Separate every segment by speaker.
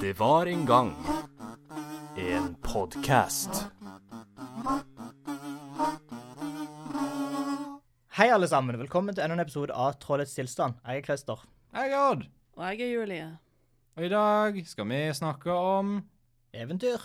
Speaker 1: Det var en gang en podkast.
Speaker 2: Hei alle sammen, velkommen til enda en episode av Trollets tilstand. Jeg er Christer.
Speaker 3: Jeg er Odd,
Speaker 4: Og jeg er Julie.
Speaker 3: og i dag skal vi snakke om
Speaker 2: Eventyr?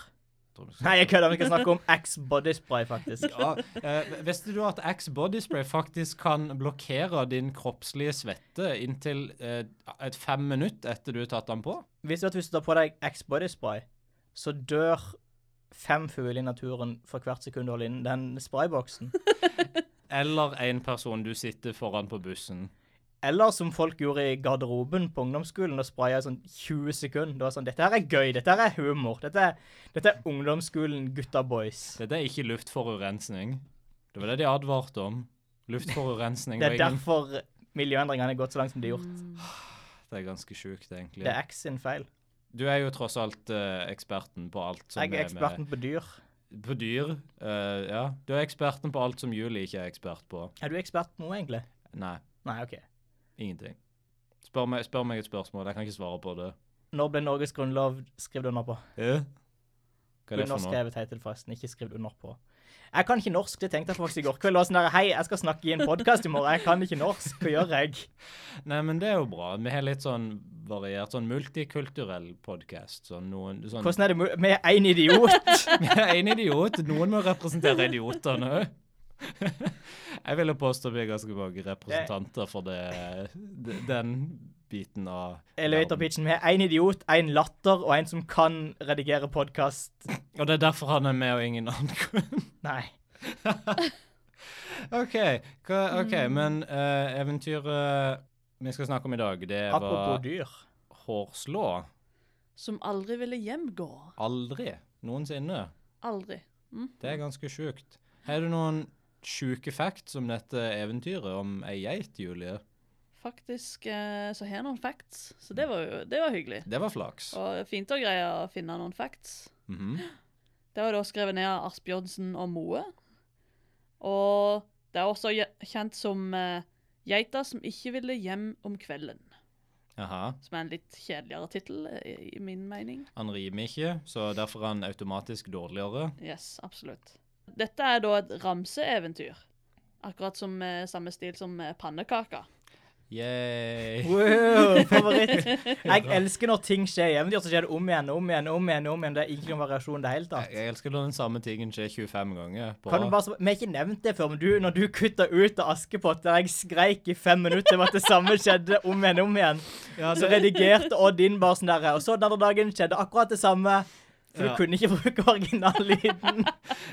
Speaker 3: Tror vi skal-
Speaker 2: Nei, jeg kødder. Vi skal snakke om Axe body spray, faktisk.
Speaker 3: ja, eh, Visste du at Axe Body Spray faktisk kan blokkere din kroppslige svette inntil eh, et fem minutter etter du har tatt den på?
Speaker 2: Visste du at hvis du tar på deg Axe body spray, så dør fem fugler i naturen for hvert sekund du holder inn den sprayboksen?
Speaker 3: Eller en person du sitter foran på bussen.
Speaker 2: Eller som folk gjorde i garderoben på ungdomsskolen og spraya i sånn 20 sekunder. Det var sånn, Dette her er gøy. Dette her er humor. Dette er, dette er ungdomsskolen, gutta boys.
Speaker 3: Dette er ikke luftforurensning. Det var det de advarte om. Luftforurensning
Speaker 2: Det er
Speaker 3: var ingen-
Speaker 2: derfor miljøendringene har gått så langt som de har gjort.
Speaker 3: det er ganske sjukt, egentlig.
Speaker 2: Det er Axe sin feil.
Speaker 3: Du er jo tross alt eh, eksperten på alt som
Speaker 2: Jeg er
Speaker 3: er med
Speaker 2: eksperten på dyr.
Speaker 3: På dyr. eh, ja. Du er eksperten på alt som Julie ikke er ekspert på.
Speaker 2: Er du ekspert på noe, egentlig?
Speaker 3: Nei.
Speaker 2: Nei, OK.
Speaker 3: Ingenting. Spør meg, spør meg et spørsmål. Jeg kan ikke svare på det.
Speaker 2: Når ble Norges grunnlov skrevet under på?
Speaker 3: Hva er det for noe?
Speaker 2: Underskrevet heter det forresten, ikke skrevet under på. Jeg kan ikke norsk, det tenkte jeg faktisk i går kveld. Og sånn der, Hei, jeg skal snakke i en podkast i morgen, jeg kan ikke norsk, hva gjør jeg?
Speaker 3: Nei, men det er jo bra. Vi har litt sånn variert, sånn multikulturell podkast. Sånn noen sånn,
Speaker 2: Hvordan er det mu- med én idiot?
Speaker 3: En idiot. Noen må representere idiotene òg. Jeg ville påstå vi er ganske mange representanter for det, d- den biten av
Speaker 2: Elevator
Speaker 3: verden.
Speaker 2: pitchen med én idiot, én latter og en som kan redigere podkast.
Speaker 3: Og det er derfor han er med, og ingen annen.
Speaker 2: Nei.
Speaker 3: OK, hva, ok,
Speaker 2: Mm.
Speaker 3: men eh, eventyret vi skal snakke om i dag, det
Speaker 2: Apropos
Speaker 3: var
Speaker 2: dyr.
Speaker 3: hårslå.
Speaker 4: Som aldri ville hjemgå.
Speaker 3: Aldri. Noensinne.
Speaker 4: Aldri.
Speaker 3: Det er ganske sjukt. Har du noen sjuke facts om dette eventyret om ei geit, Julie?
Speaker 4: Faktisk eh, så har jeg noen facts, så det var jo det var hyggelig.
Speaker 3: Det var flaks.
Speaker 4: Og fint å greie å finne noen facts.
Speaker 3: Mhm.
Speaker 4: Det var da skrevet ned av Asbjørnsen og Moe. Og det er også je- kjent som eh, Geita som ikke ville hjem om kvelden.
Speaker 3: Jaha.
Speaker 4: Som er en litt kjedeligere tittel, eh, i, i min mening.
Speaker 3: Han rimer ikke, så derfor er han automatisk dårligere.
Speaker 4: Yes, absolutt. Dette er da et ramseeventyr. Akkurat som eh, samme stil som eh, pannekaka.
Speaker 3: Yay.
Speaker 2: Wow, favoritt. Jeg elsker når ting skjer i eventyr, så skjer det om igjen om igjen. om igjen, om igjen. Det er ikke noen variasjon i det hele tatt.
Speaker 3: Jeg jeg elsker når den samme tingen skjer 25 ganger. på
Speaker 2: Kan du
Speaker 3: rad.
Speaker 2: bare, sp- vi har ikke nevnt det før, men du, når du kutta ut av Askepott, der jeg skreik i fem minutter om at det samme skjedde om igjen om igjen,
Speaker 3: Ja,
Speaker 2: så redigerte Odd inn bare sånn derre. Og så den andre dagen skjedde akkurat det samme. For
Speaker 3: Ja.
Speaker 2: du kunne ikke bruke originallyden.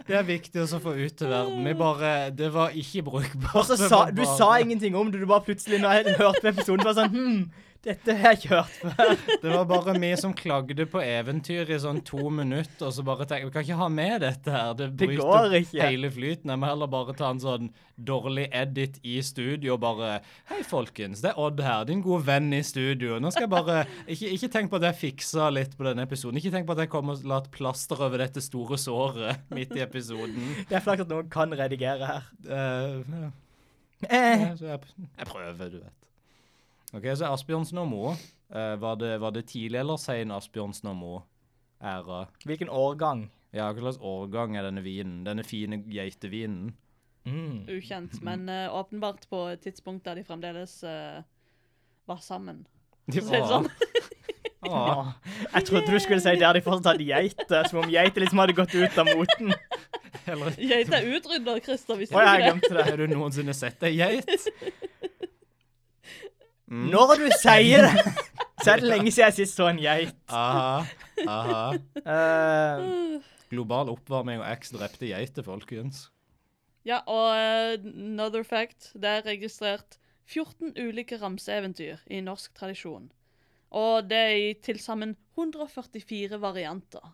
Speaker 3: Det er viktig også å få ut til verden. Vi bare Det var ikke brukbart.
Speaker 2: Og så
Speaker 3: Det
Speaker 2: sa
Speaker 3: var
Speaker 2: du
Speaker 3: bare-
Speaker 2: sa ingenting om det, du bare plutselig, når jeg hørte på episoden, var sånn Hm, dette har jeg ikke hørt før.
Speaker 3: Det var bare vi som klagde på eventyr i sånn to minutter, og så bare tenkte vi kan ikke ha med dette her. Det
Speaker 2: Det
Speaker 3: bryter
Speaker 2: går ikke.
Speaker 3: hele flyten. Jeg må heller bare ta en sånn dårlig edit i studio og bare Hei, folkens, det er Odd her, din gode venn i studio. Nå skal jeg bare Ikke, ikke tenk på at jeg fiksa litt på denne episoden. Ikke tenk på at jeg kom og la et plaster over dette store såret midt i episoden.
Speaker 2: Det er flaks at noen kan redigere her.
Speaker 3: Eh,
Speaker 2: Eh,
Speaker 3: ja, så jeg, jeg prøver, du vet. Ok, så Asbjørnsen og Moe. Eh, var, det, var det tidlig eller sein Asbjørnsen og Moe-æra?
Speaker 2: hvilken årgang?
Speaker 3: Ja, hva slags årgang er denne vinen? Denne fine geitevinen?
Speaker 2: Mm.
Speaker 4: Ukjent, men eh, åpenbart på et tidspunkt der de fremdeles eh, var sammen.
Speaker 3: De
Speaker 4: Så det er sånn.
Speaker 3: Ah,
Speaker 2: Åh, Jeg trodde du skulle si der de fortsatt hadde geiter, som om geiter liksom hadde gått ut av moten.
Speaker 3: eller,
Speaker 4: Geita er utrydda, Christer. Visste
Speaker 2: Å,
Speaker 4: du
Speaker 2: jeg
Speaker 4: ikke det?
Speaker 2: glemte det.
Speaker 3: har du noensinne sett ei geit?
Speaker 2: Når du sier det, så er det lenge siden jeg sist så en geit.
Speaker 3: Aha, aha.
Speaker 2: Eh,
Speaker 3: Global oppvarming og X drepte geiter, folkens.
Speaker 4: Ja, og eh, another fact. Det er registrert 14 ulike ramseeventyr i norsk tradisjon. Og det er i til sammen 144 varianter.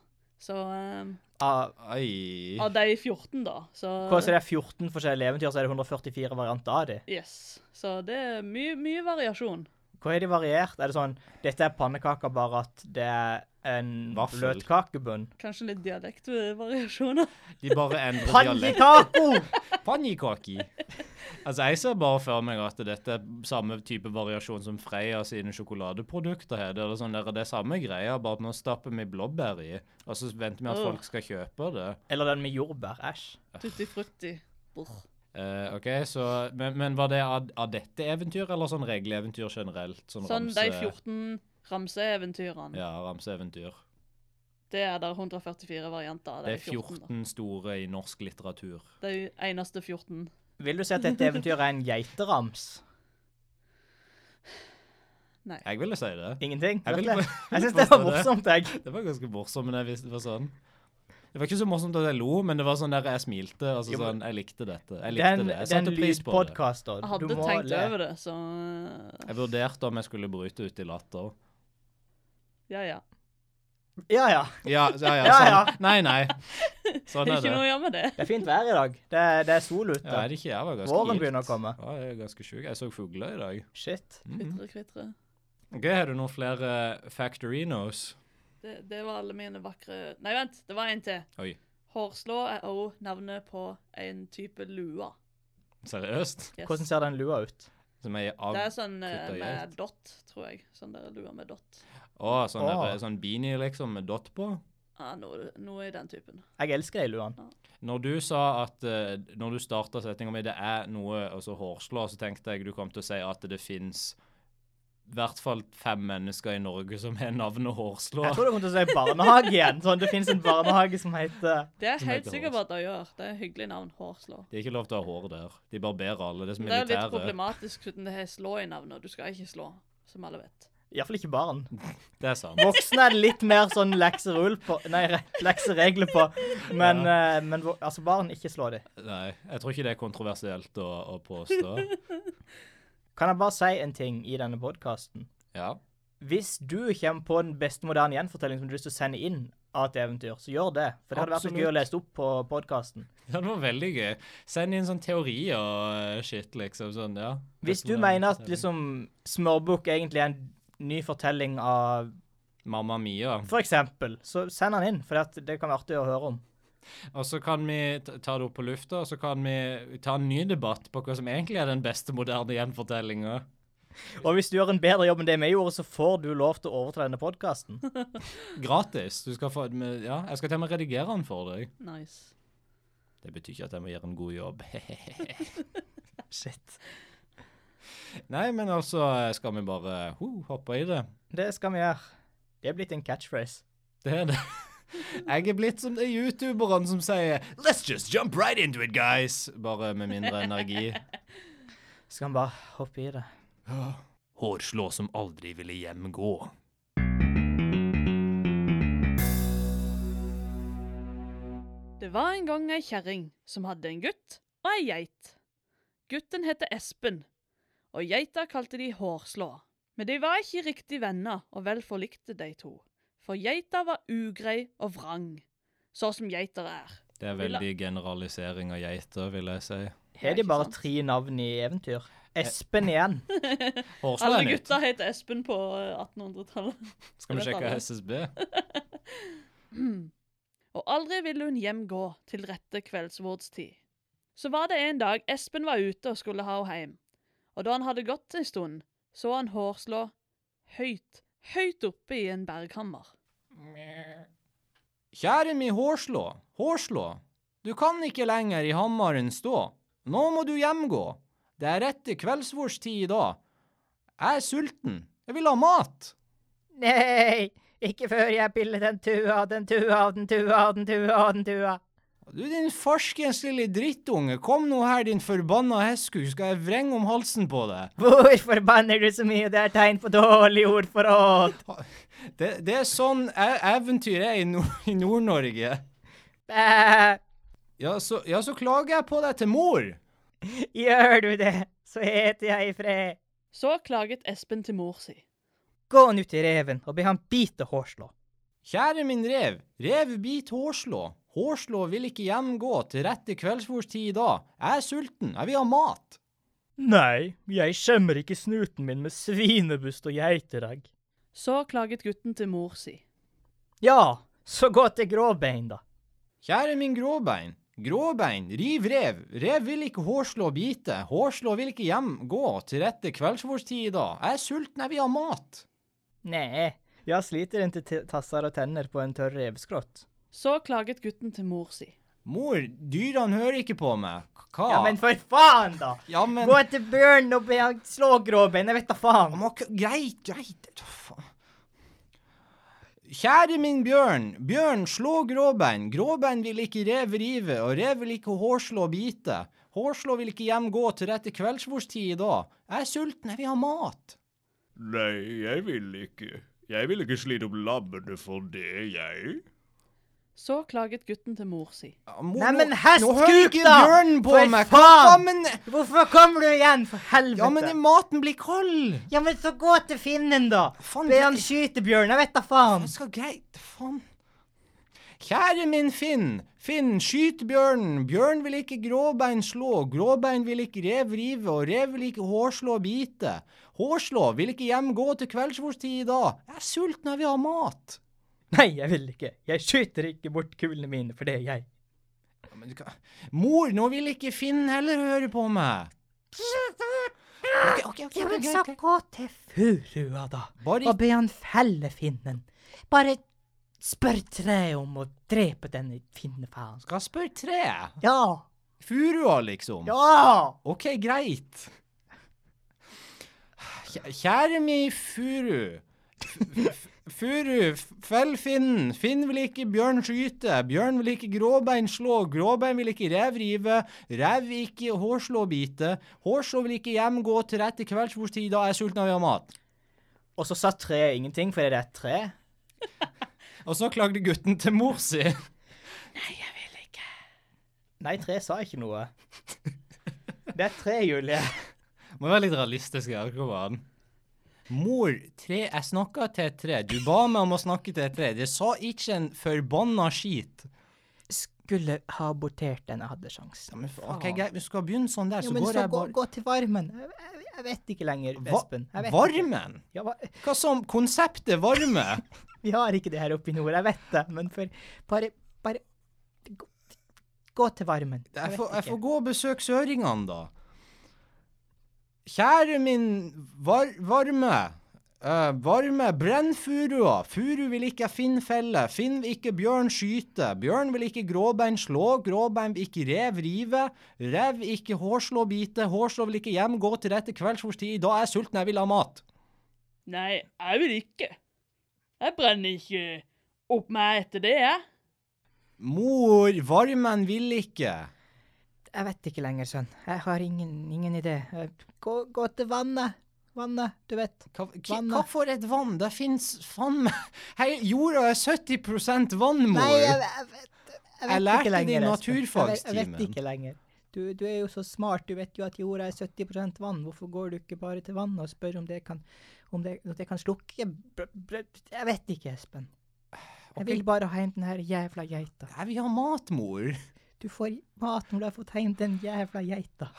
Speaker 4: Så eh,
Speaker 2: ah,
Speaker 3: Ai.
Speaker 4: Av de 14, da. Så
Speaker 2: hva så det er 14 forskjellige eventyr, så er det 144 varianter av de.
Speaker 4: Yes. Så det er mye, mye variasjon.
Speaker 2: Hva er de variert? Er det sånn Dette er pannekaker, bare at det er en
Speaker 3: Vaffel.
Speaker 2: bløtkakebunn?
Speaker 4: Kanskje litt dialektvariasjoner.
Speaker 3: De bare endrer dialekt.
Speaker 2: Pannekako!
Speaker 3: Pannekaki. Altså, jeg ser bare for meg at dette er samme type variasjon som Freia sine sjokoladeprodukter har. Det er sånn der, det er samme greia, bare at nå stapper vi blåbær i, og så venter vi at
Speaker 4: Åh.
Speaker 3: folk skal kjøpe det.
Speaker 2: Eller den med jordbær. Æsj.
Speaker 4: Tutti frutti. Brr.
Speaker 3: Eh, ok, så, men, men var det av, av dette eventyr, eller sånn regleeventyr generelt? Sånn,
Speaker 4: Sånn de
Speaker 3: ramse-
Speaker 4: 14 ramseeventyrene.
Speaker 3: Ja, ramseeventyr.
Speaker 4: Det er der 144 varianter av
Speaker 3: Det
Speaker 4: de
Speaker 3: er
Speaker 4: 14. da.
Speaker 3: 14 store i norsk litteratur.
Speaker 4: De eneste 14.
Speaker 2: Vil du si at dette eventyret er en geiterams?
Speaker 3: Jeg ville si det.
Speaker 2: Ingenting?
Speaker 3: Jeg vil
Speaker 2: virkelig?
Speaker 3: ikke-
Speaker 2: Jeg syns
Speaker 3: vil
Speaker 2: det var
Speaker 3: påstå det.
Speaker 2: morsomt, jeg.
Speaker 3: Det var ganske morsomt, men jeg visste det var sånn. Det var ikke så morsomt at jeg lo, men det var sånn der jeg smilte. altså
Speaker 2: Jo, men-
Speaker 3: sånn, Jeg likte dette. Jeg
Speaker 2: Det
Speaker 3: likte
Speaker 2: er en,
Speaker 3: det. Jeg
Speaker 2: det er en
Speaker 3: satte pris på det.
Speaker 2: lydpodkast, og
Speaker 4: Jeg
Speaker 2: du
Speaker 4: hadde
Speaker 2: må
Speaker 4: tenkt
Speaker 2: le.
Speaker 4: over det, så eh,
Speaker 3: Jeg vurderte om jeg skulle bryte ut i latter.
Speaker 4: Ja, ja.
Speaker 2: Ja, ja.
Speaker 3: Ja, ja, ja.
Speaker 2: Ja,
Speaker 3: Sånn.
Speaker 2: ja.
Speaker 3: Nei, nei.
Speaker 4: Det
Speaker 3: Sånn
Speaker 4: er
Speaker 3: er
Speaker 4: ikke noe å
Speaker 3: det.
Speaker 4: gjøre med det.
Speaker 2: Det er fint vær i dag. Det er, det er sol ute.
Speaker 3: Ja, er det ikke jeg var ganske
Speaker 2: Våren
Speaker 3: gitt.
Speaker 2: begynner å komme.
Speaker 3: Ja, jeg er ganske sjuk. Jeg så fugler i dag.
Speaker 2: Shit.
Speaker 3: Mm.
Speaker 4: Kvitre, kvitre.
Speaker 3: Ok, Har du noen flere eh, factorinos?
Speaker 4: Det, det var alle mine vakre Nei, vent, det var en til.
Speaker 3: Oi.
Speaker 4: Hårslå er òg navnet på en type lue.
Speaker 3: Seriøst?
Speaker 4: Yes.
Speaker 2: Hvordan ser den lua ut?
Speaker 3: Som er av
Speaker 4: Det er sånn eh,
Speaker 3: Kutta
Speaker 4: med
Speaker 3: geit.
Speaker 4: dott, tror jeg. Sånn der lue med dott.
Speaker 3: Å, sånn, der-
Speaker 2: Å.
Speaker 3: sånn beanie liksom med dot på?
Speaker 4: Ja, noe, noe i den typen.
Speaker 2: Jeg elsker de luene.
Speaker 3: Når du sa at eh, Når du starta setninga mi 'det er noe', og så hårslå, så tenkte jeg du kom til å si at det fins i hvert fall fem mennesker i Norge som har navnet
Speaker 2: Jeg
Speaker 3: Hårslå.
Speaker 2: tror du kommer til å si barnehage igjen. Sånn, Det fins en barnehage som heter
Speaker 4: Det er
Speaker 3: Som
Speaker 4: helt
Speaker 3: heter
Speaker 4: sikkert hva det gjør. Det er et hyggelig navn. Hårslå.
Speaker 3: Det er ikke lov til å ha hår der. De barberer alle. Det er som
Speaker 4: Det er jo litt
Speaker 3: militære.
Speaker 4: problematisk siden det har slå i navnet. og Du skal ikke slå, som alle vet.
Speaker 2: Iallfall ikke barn.
Speaker 3: Det er sant.
Speaker 2: Voksne er det litt mer sånn lekserull på Nei, re- lekseregler på. Men, eh, men vo- altså, barn, ikke slå dem.
Speaker 3: Nei, jeg tror ikke det er kontroversielt å, å påstå.
Speaker 2: Kan jeg bare si en ting i denne podkasten?
Speaker 3: Ja.
Speaker 2: Hvis du kommer på den beste moderne gjenfortelling som du har lyst til å sende inn av et eventyr, så gjør det. For det hadde vært så gøy å
Speaker 3: Absolutt.
Speaker 2: lese opp på podkasten.
Speaker 3: Ja, Det var veldig gøy. Send inn sånn teori og eh, shit, liksom. Sånn, ja.
Speaker 2: Hvis du mener at liksom Smørbukk egentlig er en ny fortelling av
Speaker 3: Mamma Mia.
Speaker 2: For eksempel, så send den inn, for det kan være artig å høre om.
Speaker 3: Og så kan vi ta ta det opp på lufta, og så kan vi ta en ny debatt på hva som egentlig er den beste moderne gjenfortellinga.
Speaker 2: Og hvis du gjør en bedre jobb enn det vi gjorde, så får du lov til å overta denne podkasten.
Speaker 3: Gratis. Du skal få, men ja, jeg skal til og med redigere den for deg.
Speaker 4: Nice.
Speaker 3: Det betyr ikke at jeg må gjøre en god jobb.
Speaker 2: Shit.
Speaker 3: Nei, men altså, skal vi bare ho, hoppe i det?
Speaker 2: Det skal vi gjøre. Det er blitt en catchphrase.
Speaker 3: Det er det. Jeg er blitt som de youtuberne som sier Let's just jump right into it, guys! Bare med mindre energi.
Speaker 2: Skal vi bare hoppe i det.
Speaker 3: Hårslå som aldri ville hjemgå.
Speaker 4: Det var en gang ei kjerring som hadde en gutt og ei geit. Gutten het Espen, og geita kalte de Hårslå. Men de var ikke riktig venner, og vel forlikte de to. For geita var ugrei og vrang, så som geiter er.
Speaker 3: Det er veldig generalisering av geiter, vil jeg si.
Speaker 2: Har de
Speaker 4: ikke
Speaker 2: bare
Speaker 4: sant?
Speaker 2: tre navn i eventyr? Espen igjen.
Speaker 3: Hårslå
Speaker 4: Alle
Speaker 3: er nytt.
Speaker 4: gutta het Espen på eh, 1800-tallet.
Speaker 3: Skal vi
Speaker 4: Jeg vet
Speaker 3: sjekke
Speaker 4: aldri.
Speaker 3: SSB?
Speaker 4: Og aldri ville hun hjem gå til rette kveldsvordstid. Så var det en dag Espen var ute og skulle ha henne hjem. Og da han hadde gått en stund, så han hårslå høyt, høyt oppe i en berghammer.
Speaker 3: Kjære mi hårslå, hårslå, du kan ikke lenger i hammaren stå. Nå må du hjemgå. Det er rette kveldsvårstid i dag. Jeg er sulten. Jeg vil ha mat.
Speaker 2: Nei, ikke før jeg piller den tua, den tua, den tua, den tua, den tua.
Speaker 3: Du din farskens lille drittunge, kom nå her din forbanna hesku, skal jeg vrenge om halsen på deg.
Speaker 2: Hvorfor banner du så mye? Det er tegn på dårlig ordforråd.
Speaker 3: Det, det er sånn e- eventyr er i Nord- i Nord-Norge.
Speaker 2: Bæ.
Speaker 3: Ja, så- ja, så klager jeg på deg til mor.
Speaker 2: Gjør du det, så heter jeg i fred.
Speaker 4: Så klaget Espen til mor si.
Speaker 2: Gå nå til reven og be han bite hårslå.
Speaker 3: Kjære min rev, rev bit hårslå. Hårslå vil ikke hjem gå til rette kveldsfòrstid i dag. Jeg er sulten, jeg vil ha mat.
Speaker 2: Nei, jeg skjemmer ikke snuten min med svinebust og geiteregg.
Speaker 4: Så klaget gutten til mor si.
Speaker 2: Ja, så gå til gråbein, da.
Speaker 3: Kjære min gråbein. Gråbein, riv rev. Rev vil ikke hårslå bite. Hårslå vil ikke hjem gå til rette kveldsvårstid i dag. Jeg er sulten, jeg vil ha mat.
Speaker 2: Nei, jeg sliter inntil t- tasser og tenner på en tørr revskrott.
Speaker 4: Så klaget gutten til mor si.
Speaker 3: Mor, dyrene hører ikke på meg. K- Hva?
Speaker 2: Ja, men for faen, da!
Speaker 3: Ja, men-
Speaker 2: Gå til bjørn og be han slå gråbein, jeg vet da faen.
Speaker 3: Han må ikke- Greit, greit. Ta faen. Kjære min bjørn, bjørn, slå gråbein. Gråbein vil ikke rev rive, og rev vil ikke hårslå bite. Hårslå vil ikke hjem gå til rette kveldsbordstid i dag. Jeg er sulten, jeg vil ha mat.
Speaker 5: Nei, jeg vil ikke. Jeg vil ikke slite opp lammene for det, jeg.
Speaker 4: Så klaget gutten til mor si.
Speaker 3: Ja, mor,
Speaker 2: Nei,
Speaker 3: nå-
Speaker 2: men hest,
Speaker 3: Nå hører
Speaker 2: kuk,
Speaker 3: ikke
Speaker 2: da!
Speaker 3: bjørnen på
Speaker 2: For
Speaker 3: meg! Hva
Speaker 2: faen!
Speaker 3: faen?
Speaker 2: Hvorfor kommer du igjen, for helvete?
Speaker 3: Ja, men maten blir kald!
Speaker 2: Ja, men så gå til finnen, da.
Speaker 3: Faen,
Speaker 2: Be
Speaker 3: jeg-
Speaker 2: han skyte bjørn, jeg vet da faen.
Speaker 3: Det skal greit, faen. Kjære min Finn, Finn, skyt bjørnen. Bjørn vil ikke gråbein slå, gråbein vil ikke rev rive, og rev vil ikke hårslå bite. Hårslå vil ikke hjem gå til kveldsbordstid i dag. Jeg er sulten, jeg vil ha mat.
Speaker 2: Nei, jeg vil ikke. Jeg skyter ikke bort kulene mine, for det er jeg.
Speaker 3: Ja, men du kan- Mor, nå vil ikke Finn heller høre på meg. Ok, ok, ok,
Speaker 2: Ja,
Speaker 3: ok,
Speaker 2: men så
Speaker 3: ok.
Speaker 2: gå til furua, da,
Speaker 3: Bare
Speaker 2: og be han felle finnen. Bare spør treet om å drepe denne finnefaen.
Speaker 3: Skal spørre tre.
Speaker 2: Ja!
Speaker 3: Furua, liksom.
Speaker 2: Ja!
Speaker 3: Ok, greit. Kjæ- Kjære mi furu. F- f- Furu, f- fell finnen. Finn vil ikke bjørn skyte. Bjørn vil ikke gråbein slå. Gråbein vil ikke rev rive. Rev vil ikke hårslå bite. Hårslå vil ikke hjem gå til rette kveldsbordstid. Da er jeg sulten og vil ha mat.
Speaker 2: Og så sa treet ingenting, fordi det er et tre.
Speaker 3: Og så klagde gutten til mor si.
Speaker 2: Nei, treet sa ikke noe. Det er et tre, Julie.
Speaker 3: Må være litt realistisk her. Kom an. Mor, tre, jeg snakka til et tre. Du ba meg om å snakke til et tre. Det sa ikke en forbanna skit.
Speaker 2: Skulle ha abortert den jeg hadde sjansen.
Speaker 3: Men faen. Ok, greit, vi skal begynne sånn der,
Speaker 2: Jo,
Speaker 3: så
Speaker 2: men
Speaker 3: går
Speaker 2: så
Speaker 3: jeg
Speaker 2: gå,
Speaker 3: bare
Speaker 2: gå til varmen. Jeg, jeg, jeg vet ikke lenger,
Speaker 3: Va-
Speaker 2: Espen. Jeg vet ikke.
Speaker 3: Varmen?
Speaker 2: Ja, hva-
Speaker 3: Hva som konseptet varme?
Speaker 2: vi har ikke det her oppe i nord, jeg vet det, men for Bare, bare gå, gå til varmen.
Speaker 3: Jeg
Speaker 2: vet
Speaker 3: får, jeg
Speaker 2: ikke.
Speaker 3: får gå og besøke søringene, da. Kjære min var, varme. eh, varme, brenn furua. Furu vil ikke Finn felle. Finn vil ikke bjørn skyte. Bjørn vil ikke gråbein slå. Gråbein vil ikke rev rive. Rev ikke hårslå bite. Hårslå vil ikke hjem gå til rette kveldsbordstid. Da er jeg sulten, jeg vil ha mat.
Speaker 4: Nei, jeg vil ikke. Jeg brenner ikke opp meg etter det, jeg.
Speaker 3: Mor, varmen vil ikke.
Speaker 2: Jeg vet ikke lenger, sønn. Jeg har ingen, ingen idé. Eh, Gå, gå til vannet. Vannet, du vet.
Speaker 3: Hva, k-
Speaker 2: Vannet.
Speaker 3: hva for et vann? Det fins faen meg Hei, jorda er 70 vann, mor!
Speaker 2: Nei, jeg, jeg vet, jeg vet
Speaker 3: Jeg lærte
Speaker 2: ikke lenger. Espen. Jeg vet-
Speaker 3: det i
Speaker 2: Jeg
Speaker 3: naturfagstimen.
Speaker 2: vet ikke lenger. Du, du er jo så smart, du vet jo at jorda er 70 vann. Hvorfor går du ikke bare til vannet og spør om det kan, om det, om det kan slukke br- br- Jeg vet ikke, Espen. Jeg
Speaker 3: Ok.
Speaker 2: vil bare ha hjem den her jævla geita.
Speaker 3: Jeg vil ha mat, mor.
Speaker 2: Du får mat når du har fått hjem den jævla geita.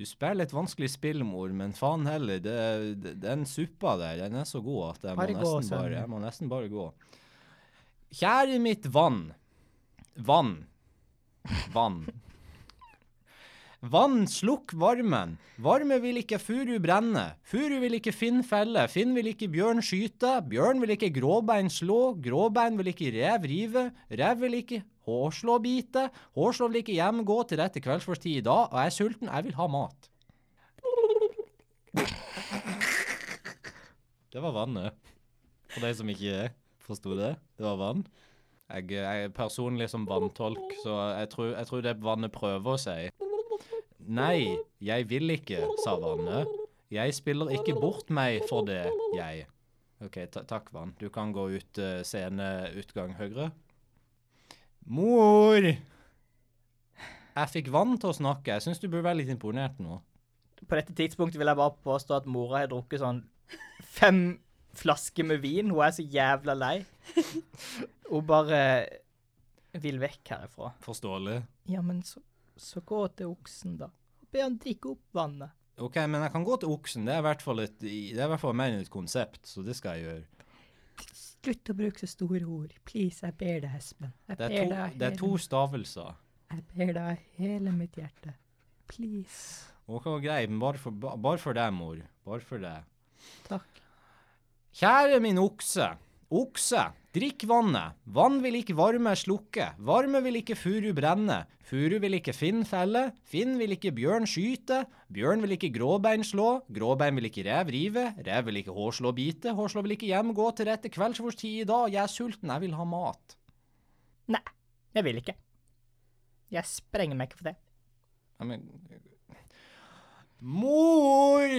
Speaker 3: Du spiller et vanskelig spill, mor, men faen heller, det, det, den suppa der, den er så god at jeg må,
Speaker 2: Bare gå,
Speaker 3: nesten
Speaker 2: sønn.
Speaker 3: bare, jeg må nesten bare gå. Kjære mitt vann. Vann. Vann. Vann, slukk varmen. Varme vil ikke furu brenne. Furu vil ikke Finn felle. Finn vil ikke bjørn skyte. Bjørn vil ikke gråbein slå. Gråbein vil ikke rev rive. Rev vil ikke hårslå bite. Hårslå vil ikke hjem gå til rette kveldsforstid i dag. Og jeg er sulten, jeg vil ha mat. Det var vannet. For de som ikke forsto det. Det var vann. Jeg, jeg er personlig som vanntolk, så jeg tror, jeg tror det vannet prøver å si. Nei, jeg vil ikke, sa vannet. Jeg spiller ikke bort meg for det, jeg. OK, ta takk, vann. Du kan gå ut uh, scene utgang høyre. Mor! Jeg fikk vann til å snakke. Jeg syns du burde være litt imponert nå.
Speaker 2: På dette tidspunktet vil jeg bare påstå at mora har drukket sånn fem flasker med vin. Hun er så jævla lei. Hun bare vil vekk herifra.
Speaker 3: Forståelig.
Speaker 2: Ja, men så, så gå til oksen, da. Be han drikke opp vannet.
Speaker 3: OK, men jeg kan gå til oksen. Det er i hvert fall et, det er i hvert fall mer enn et konsept, så det skal jeg gjøre.
Speaker 2: Slutt å bruke så store ord. Please, jeg ber deg, Espen. Jeg
Speaker 3: Det
Speaker 2: ber
Speaker 3: er to,
Speaker 2: deg,
Speaker 3: det er to
Speaker 2: hele-
Speaker 3: stavelser.
Speaker 2: Jeg ber deg av hele mitt hjerte. Please.
Speaker 3: OK, greit, men bare for, ba- bare for deg, mor. Bare for deg.
Speaker 2: Takk.
Speaker 3: Kjære min okse. Okse, drikk vannet. Vann vil ikke varme slukke. Varme vil ikke furu brenne. Furu vil ikke Finn felle. Finn vil ikke bjørn skyte. Bjørn vil ikke gråbein slå. Gråbein vil ikke rev rive. Rev vil ikke hårslå bite. Hårslå vil ikke hjem gå til rette kveldsvårstid i dag. Jeg er sulten, jeg vil ha mat.
Speaker 6: Nei, jeg vil ikke. Jeg sprenger meg ikke for det.
Speaker 3: Nei, men Mor!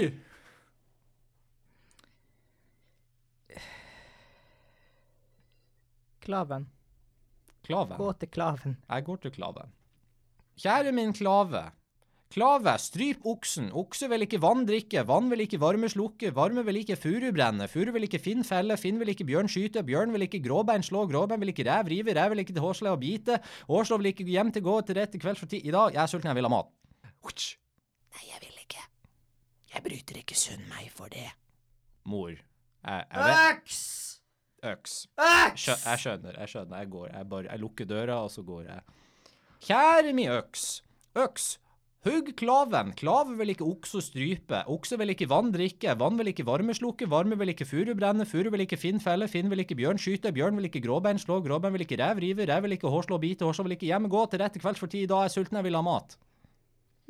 Speaker 6: Klaven.
Speaker 3: Klaven.
Speaker 6: Gå til klaven.
Speaker 3: Jeg går til Klave. Kjære min Klave. Klave, stryp oksen. Okse vil ikke vann drikke, vann vil ikke varme slukke, varme vil ikke furu brenne, furu vil ikke Finn felle, Finn vil ikke bjørn skyte, bjørn vil ikke gråbein slå, gråbein vil ikke rev rive, rev vil ikke til hårsle og bite, hårslå vil ikke hjem til gå til rett til kvelds for ti. I dag, jeg er sulten, jeg vil ha mat. Hutsch. Nei, jeg vil ikke. Jeg bryter ikke sunn meg for det. Mor. Jeg, jeg vet.
Speaker 6: Øks!
Speaker 3: Øks.
Speaker 6: Øks!
Speaker 3: Skjø jeg skjønner, jeg skjønner. Jeg går. Jeg, bare, jeg lukker døra, og så går jeg. Kjære mi øks. Øks. Hugg klaven. Klave vil ikke okse strype. Okse vil ikke vann drikke. Vann vil ikke varme slukke. Varme vil ikke furu brenne. Furu vil ikke Finn felle. Finn vil ikke bjørn skyte. Bjørn vil ikke gråbein slå. Gråbein vil ikke rev rive. Rev vil ikke hårslå bite. Hårslå vil ikke hjem gå. Til rette kvelds for ti. Da er jeg sulten. Jeg vil ha mat.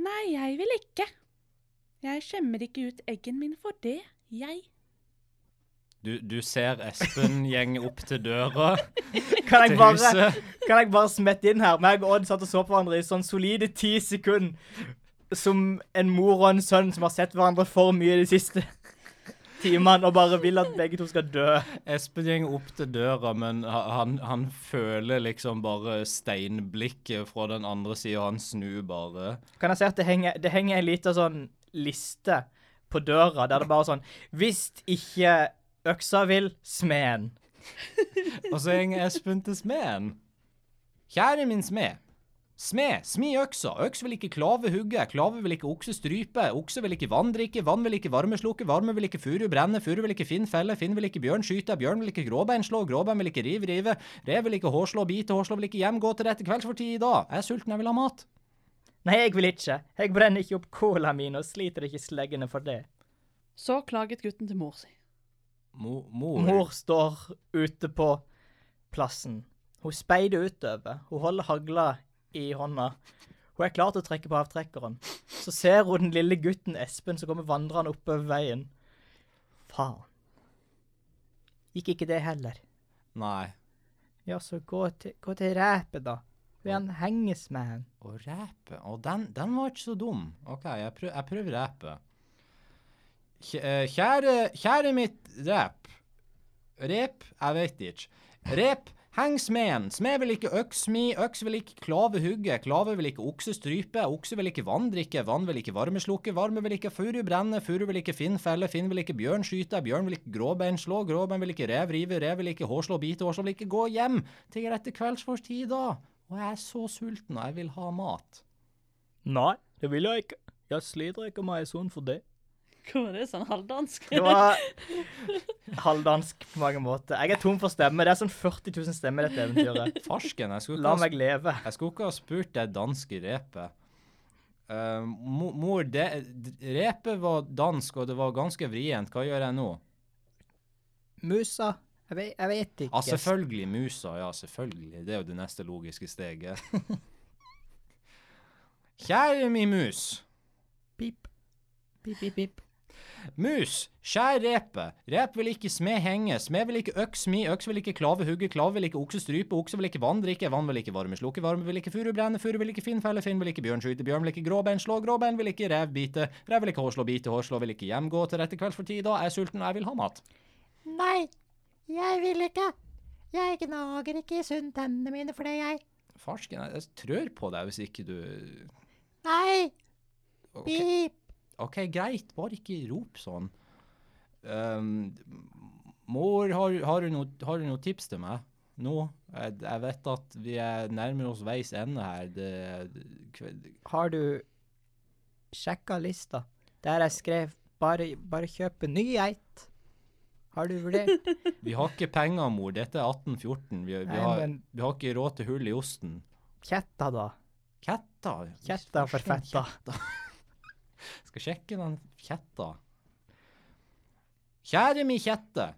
Speaker 4: Nei, jeg vil ikke. Jeg skjemmer ikke ut eggen min for det, jeg.
Speaker 3: Du, ser Espen gjeng opp til døra
Speaker 6: Kan jeg bare, kan jeg bare smette inn her? Meg og Odd satt og så på hverandre i sånn solide ti sekunder. Som en mor og en sønn som har sett hverandre for mye de siste timene og bare vil at begge to skal dø.
Speaker 3: Espen går opp til døra, men ha- han, han føler liksom bare steinblikket fra den andre sida. Han snur bare.
Speaker 6: Kan jeg si at det henger, det henger en liten sånn liste på døra der det bare er sånn Hvis ikke øksa vil, smeden.
Speaker 3: Og så går Espen til smeden. Kjære min smed. Smed, smi øksa. Øks vil ikke klave hugge. Klave vil ikke okse strype. Okse vil ikke vann drikke. Vann vil ikke varme slukke. Varme vil ikke furu brenne. Furu vil ikke Finn felle. Finn vil ikke bjørn skyte. Bjørn vil ikke gråbein slå. Gråbein vil ikke rive rive. Rev vil ikke hårslå bite. Hårslå vil ikke hjem gå til rette kvelds for ti i dag. Jeg er sulten, jeg vil ha mat.
Speaker 6: Nei, jeg vil ikke. Jeg brenner ikke opp cola min og sliter ikke sleggene for det.
Speaker 4: Så klaget gutten til mor si.
Speaker 3: Mo, mor.
Speaker 6: Mor står ute på plassen. Hun speider utover. Hun holder hagla i hånda. Hun er klar til å trekke på avtrekkeren. Så ser hun den lille gutten Espen som kommer vandrende oppover veien. Faen. Gikk ikke det heller.
Speaker 3: Nei.
Speaker 6: Ja, så gå til, gå til ræpet, da. Vil han henges med han?
Speaker 3: Å rape? Å, den, den var ikke så dum. OK, jeg, prøv, jeg prøver rape. Kj- eh, Kjære, kjære mitt rep. Rep? Jeg vet ikke. Rep, heng smeden. Smed vil ikke øks smi, øks vil ikke klave hugge, klave vil ikke okse strype, okse vil ikke vann drikke, vann vil ikke varme slukke, varme vil ikke furu brenne, furu vil ikke finn felle, finn vil ikke bjørn skyte, bjørn vil ikke gråbein slå, gråbein vil ikke rev rive, rev vil ikke hårslå bite, hårslå vil ikke gå hjem til rette kveldsforstid da. Og jeg er så sulten, og jeg vil ha mat.
Speaker 6: Nei, det vil jeg ikke. Jeg sliter ikke med ei sånn for det.
Speaker 4: Hva var det, sånn halvdansk?
Speaker 6: Det var halvdansk på mange måter. Jeg er tom for stemmer. Det er sånn 40 000 stemmer i dette eventyret.
Speaker 3: Farsken, jeg skulle ikke,
Speaker 6: La
Speaker 3: ha,
Speaker 6: meg leve.
Speaker 3: jeg skulle ikke ha spurt det danske repet. Eh, mo- mor, det, d- repet var dansk, og det var ganske vrient. Hva gjør jeg nå?
Speaker 6: Musa? Jeg vet, jeg vet
Speaker 3: Ja,
Speaker 6: ikke.
Speaker 3: Ah, selvfølgelig musa. Ja, selvfølgelig. Det er jo det neste logiske steget. Kjære mi mus.
Speaker 2: Pip. Pip, pip, pip.
Speaker 3: Mus, skjær repet. Rep vil ikke smed henge. Smed vil ikke øks smi. Øks vil ikke klave hugge. Klave vil ikke okse strype. Okse vil ikke vann drikke. Vann vil ikke varme slukke. Varme vil ikke furu brenne. Furu vil ikke finn felle. Finn vil ikke bjørn skyte. Bjørn vil ikke gråbein slå. Gråbein vil ikke rev bite. Rev vil ikke hårslå bite. Hårslå vil ikke hjem gå til rette kvelds for tid. Da er jeg sulten, og jeg vil ha mat.
Speaker 2: Nei, jeg vil ikke. Jeg gnager ikke i sunn tennene mine for det, jeg.
Speaker 3: Farsken, jeg- jeg trør på deg hvis ikke du
Speaker 2: Nei,
Speaker 3: Ok,
Speaker 2: pip.
Speaker 3: ok, greit. Bare ikke rop sånn. Ehm, mor, har, har, du noe, har du noe tips til meg? Nå? Jeg, jeg vet at vi er nærmer oss veis ende her. Det, det- kve-
Speaker 6: Har du sjekka lista? der jeg skrev bare, bare kjøp en ny geit. Har du vurdert?
Speaker 3: Vi har ikke penger, mor. Dette er 1814. Vi, vi,
Speaker 6: Nei,
Speaker 3: har,
Speaker 6: men-
Speaker 3: vi har ikke råd til hull i osten.
Speaker 6: Kjetta, da.
Speaker 3: Kjetta?
Speaker 6: Kjetta for fetta.
Speaker 3: Skal sjekke den kjetta. Kjære mi kjette.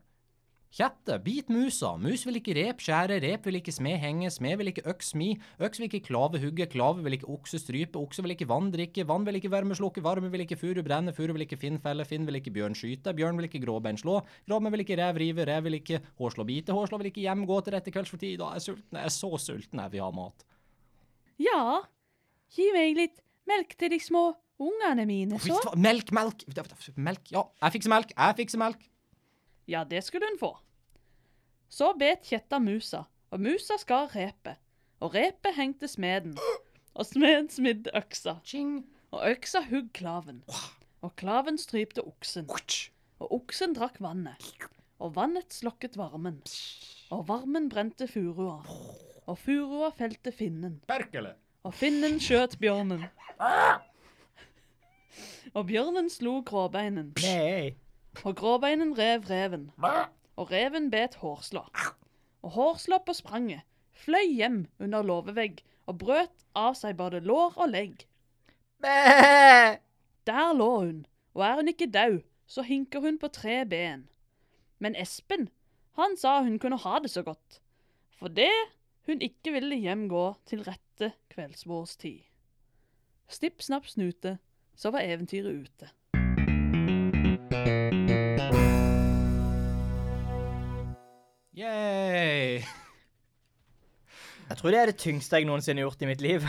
Speaker 3: Kjette, bit musa. Mus vil ikke rep skjære, rep vil ikke smed henge, smed vil ikke øks smi, øks vil ikke klave hugge, klave vil ikke okse strype, okse vil ikke vann drikke, vann vil ikke varme slukke, varme vil ikke furu brenne, furu vil ikke finn felle, finn vil ikke bjørn skyte, bjørn vil ikke gråbein slå, gråbein vil ikke rev rive, rev vil ikke hårslå bite, hårslå vil ikke hjem gå til rette kvelds for tid, da er jeg sulten, jeg er så sulten, jeg vil ha mat.
Speaker 4: Ja, gi meg litt melk til de små ungene mine,
Speaker 3: Fy
Speaker 4: så.
Speaker 3: faen, Melk, melk, melk, ja, jeg fikser melk, jeg fikser melk.
Speaker 4: Ja, det skulle hun få. Så bet kjetta musa, og musa skar repet. Og repet hengte smeden, og smeden smidde øksa,
Speaker 3: Tjing.
Speaker 4: og øksa hugg klaven. Og klaven strypte oksen,
Speaker 3: Ouch.
Speaker 4: og oksen drakk vannet. Og vannet slokket varmen, og varmen brente furua. Og furua felte finnen,
Speaker 3: Perkele.
Speaker 4: og finnen skjøt bjørnen. Og bjørnen slo gråbeinen.
Speaker 6: Nei.
Speaker 4: Og gråbeinen rev reven. Og reven bet hårslå. Og hårslå på spranget fløy hjem under låvevegg og brøt av seg både lår og legg.
Speaker 6: Bæ!
Speaker 4: Der lå hun, og er hun ikke dau, så hinker hun på tre ben. Men Espen, han sa hun kunne ha det så godt, for det hun ikke ville hjemgå til rette kveldsbordstid. Snipp, snapp, snute, så var eventyret ute.
Speaker 3: Yay.
Speaker 6: Jeg tror det er det tyngste jeg noensinne har gjort i mitt liv.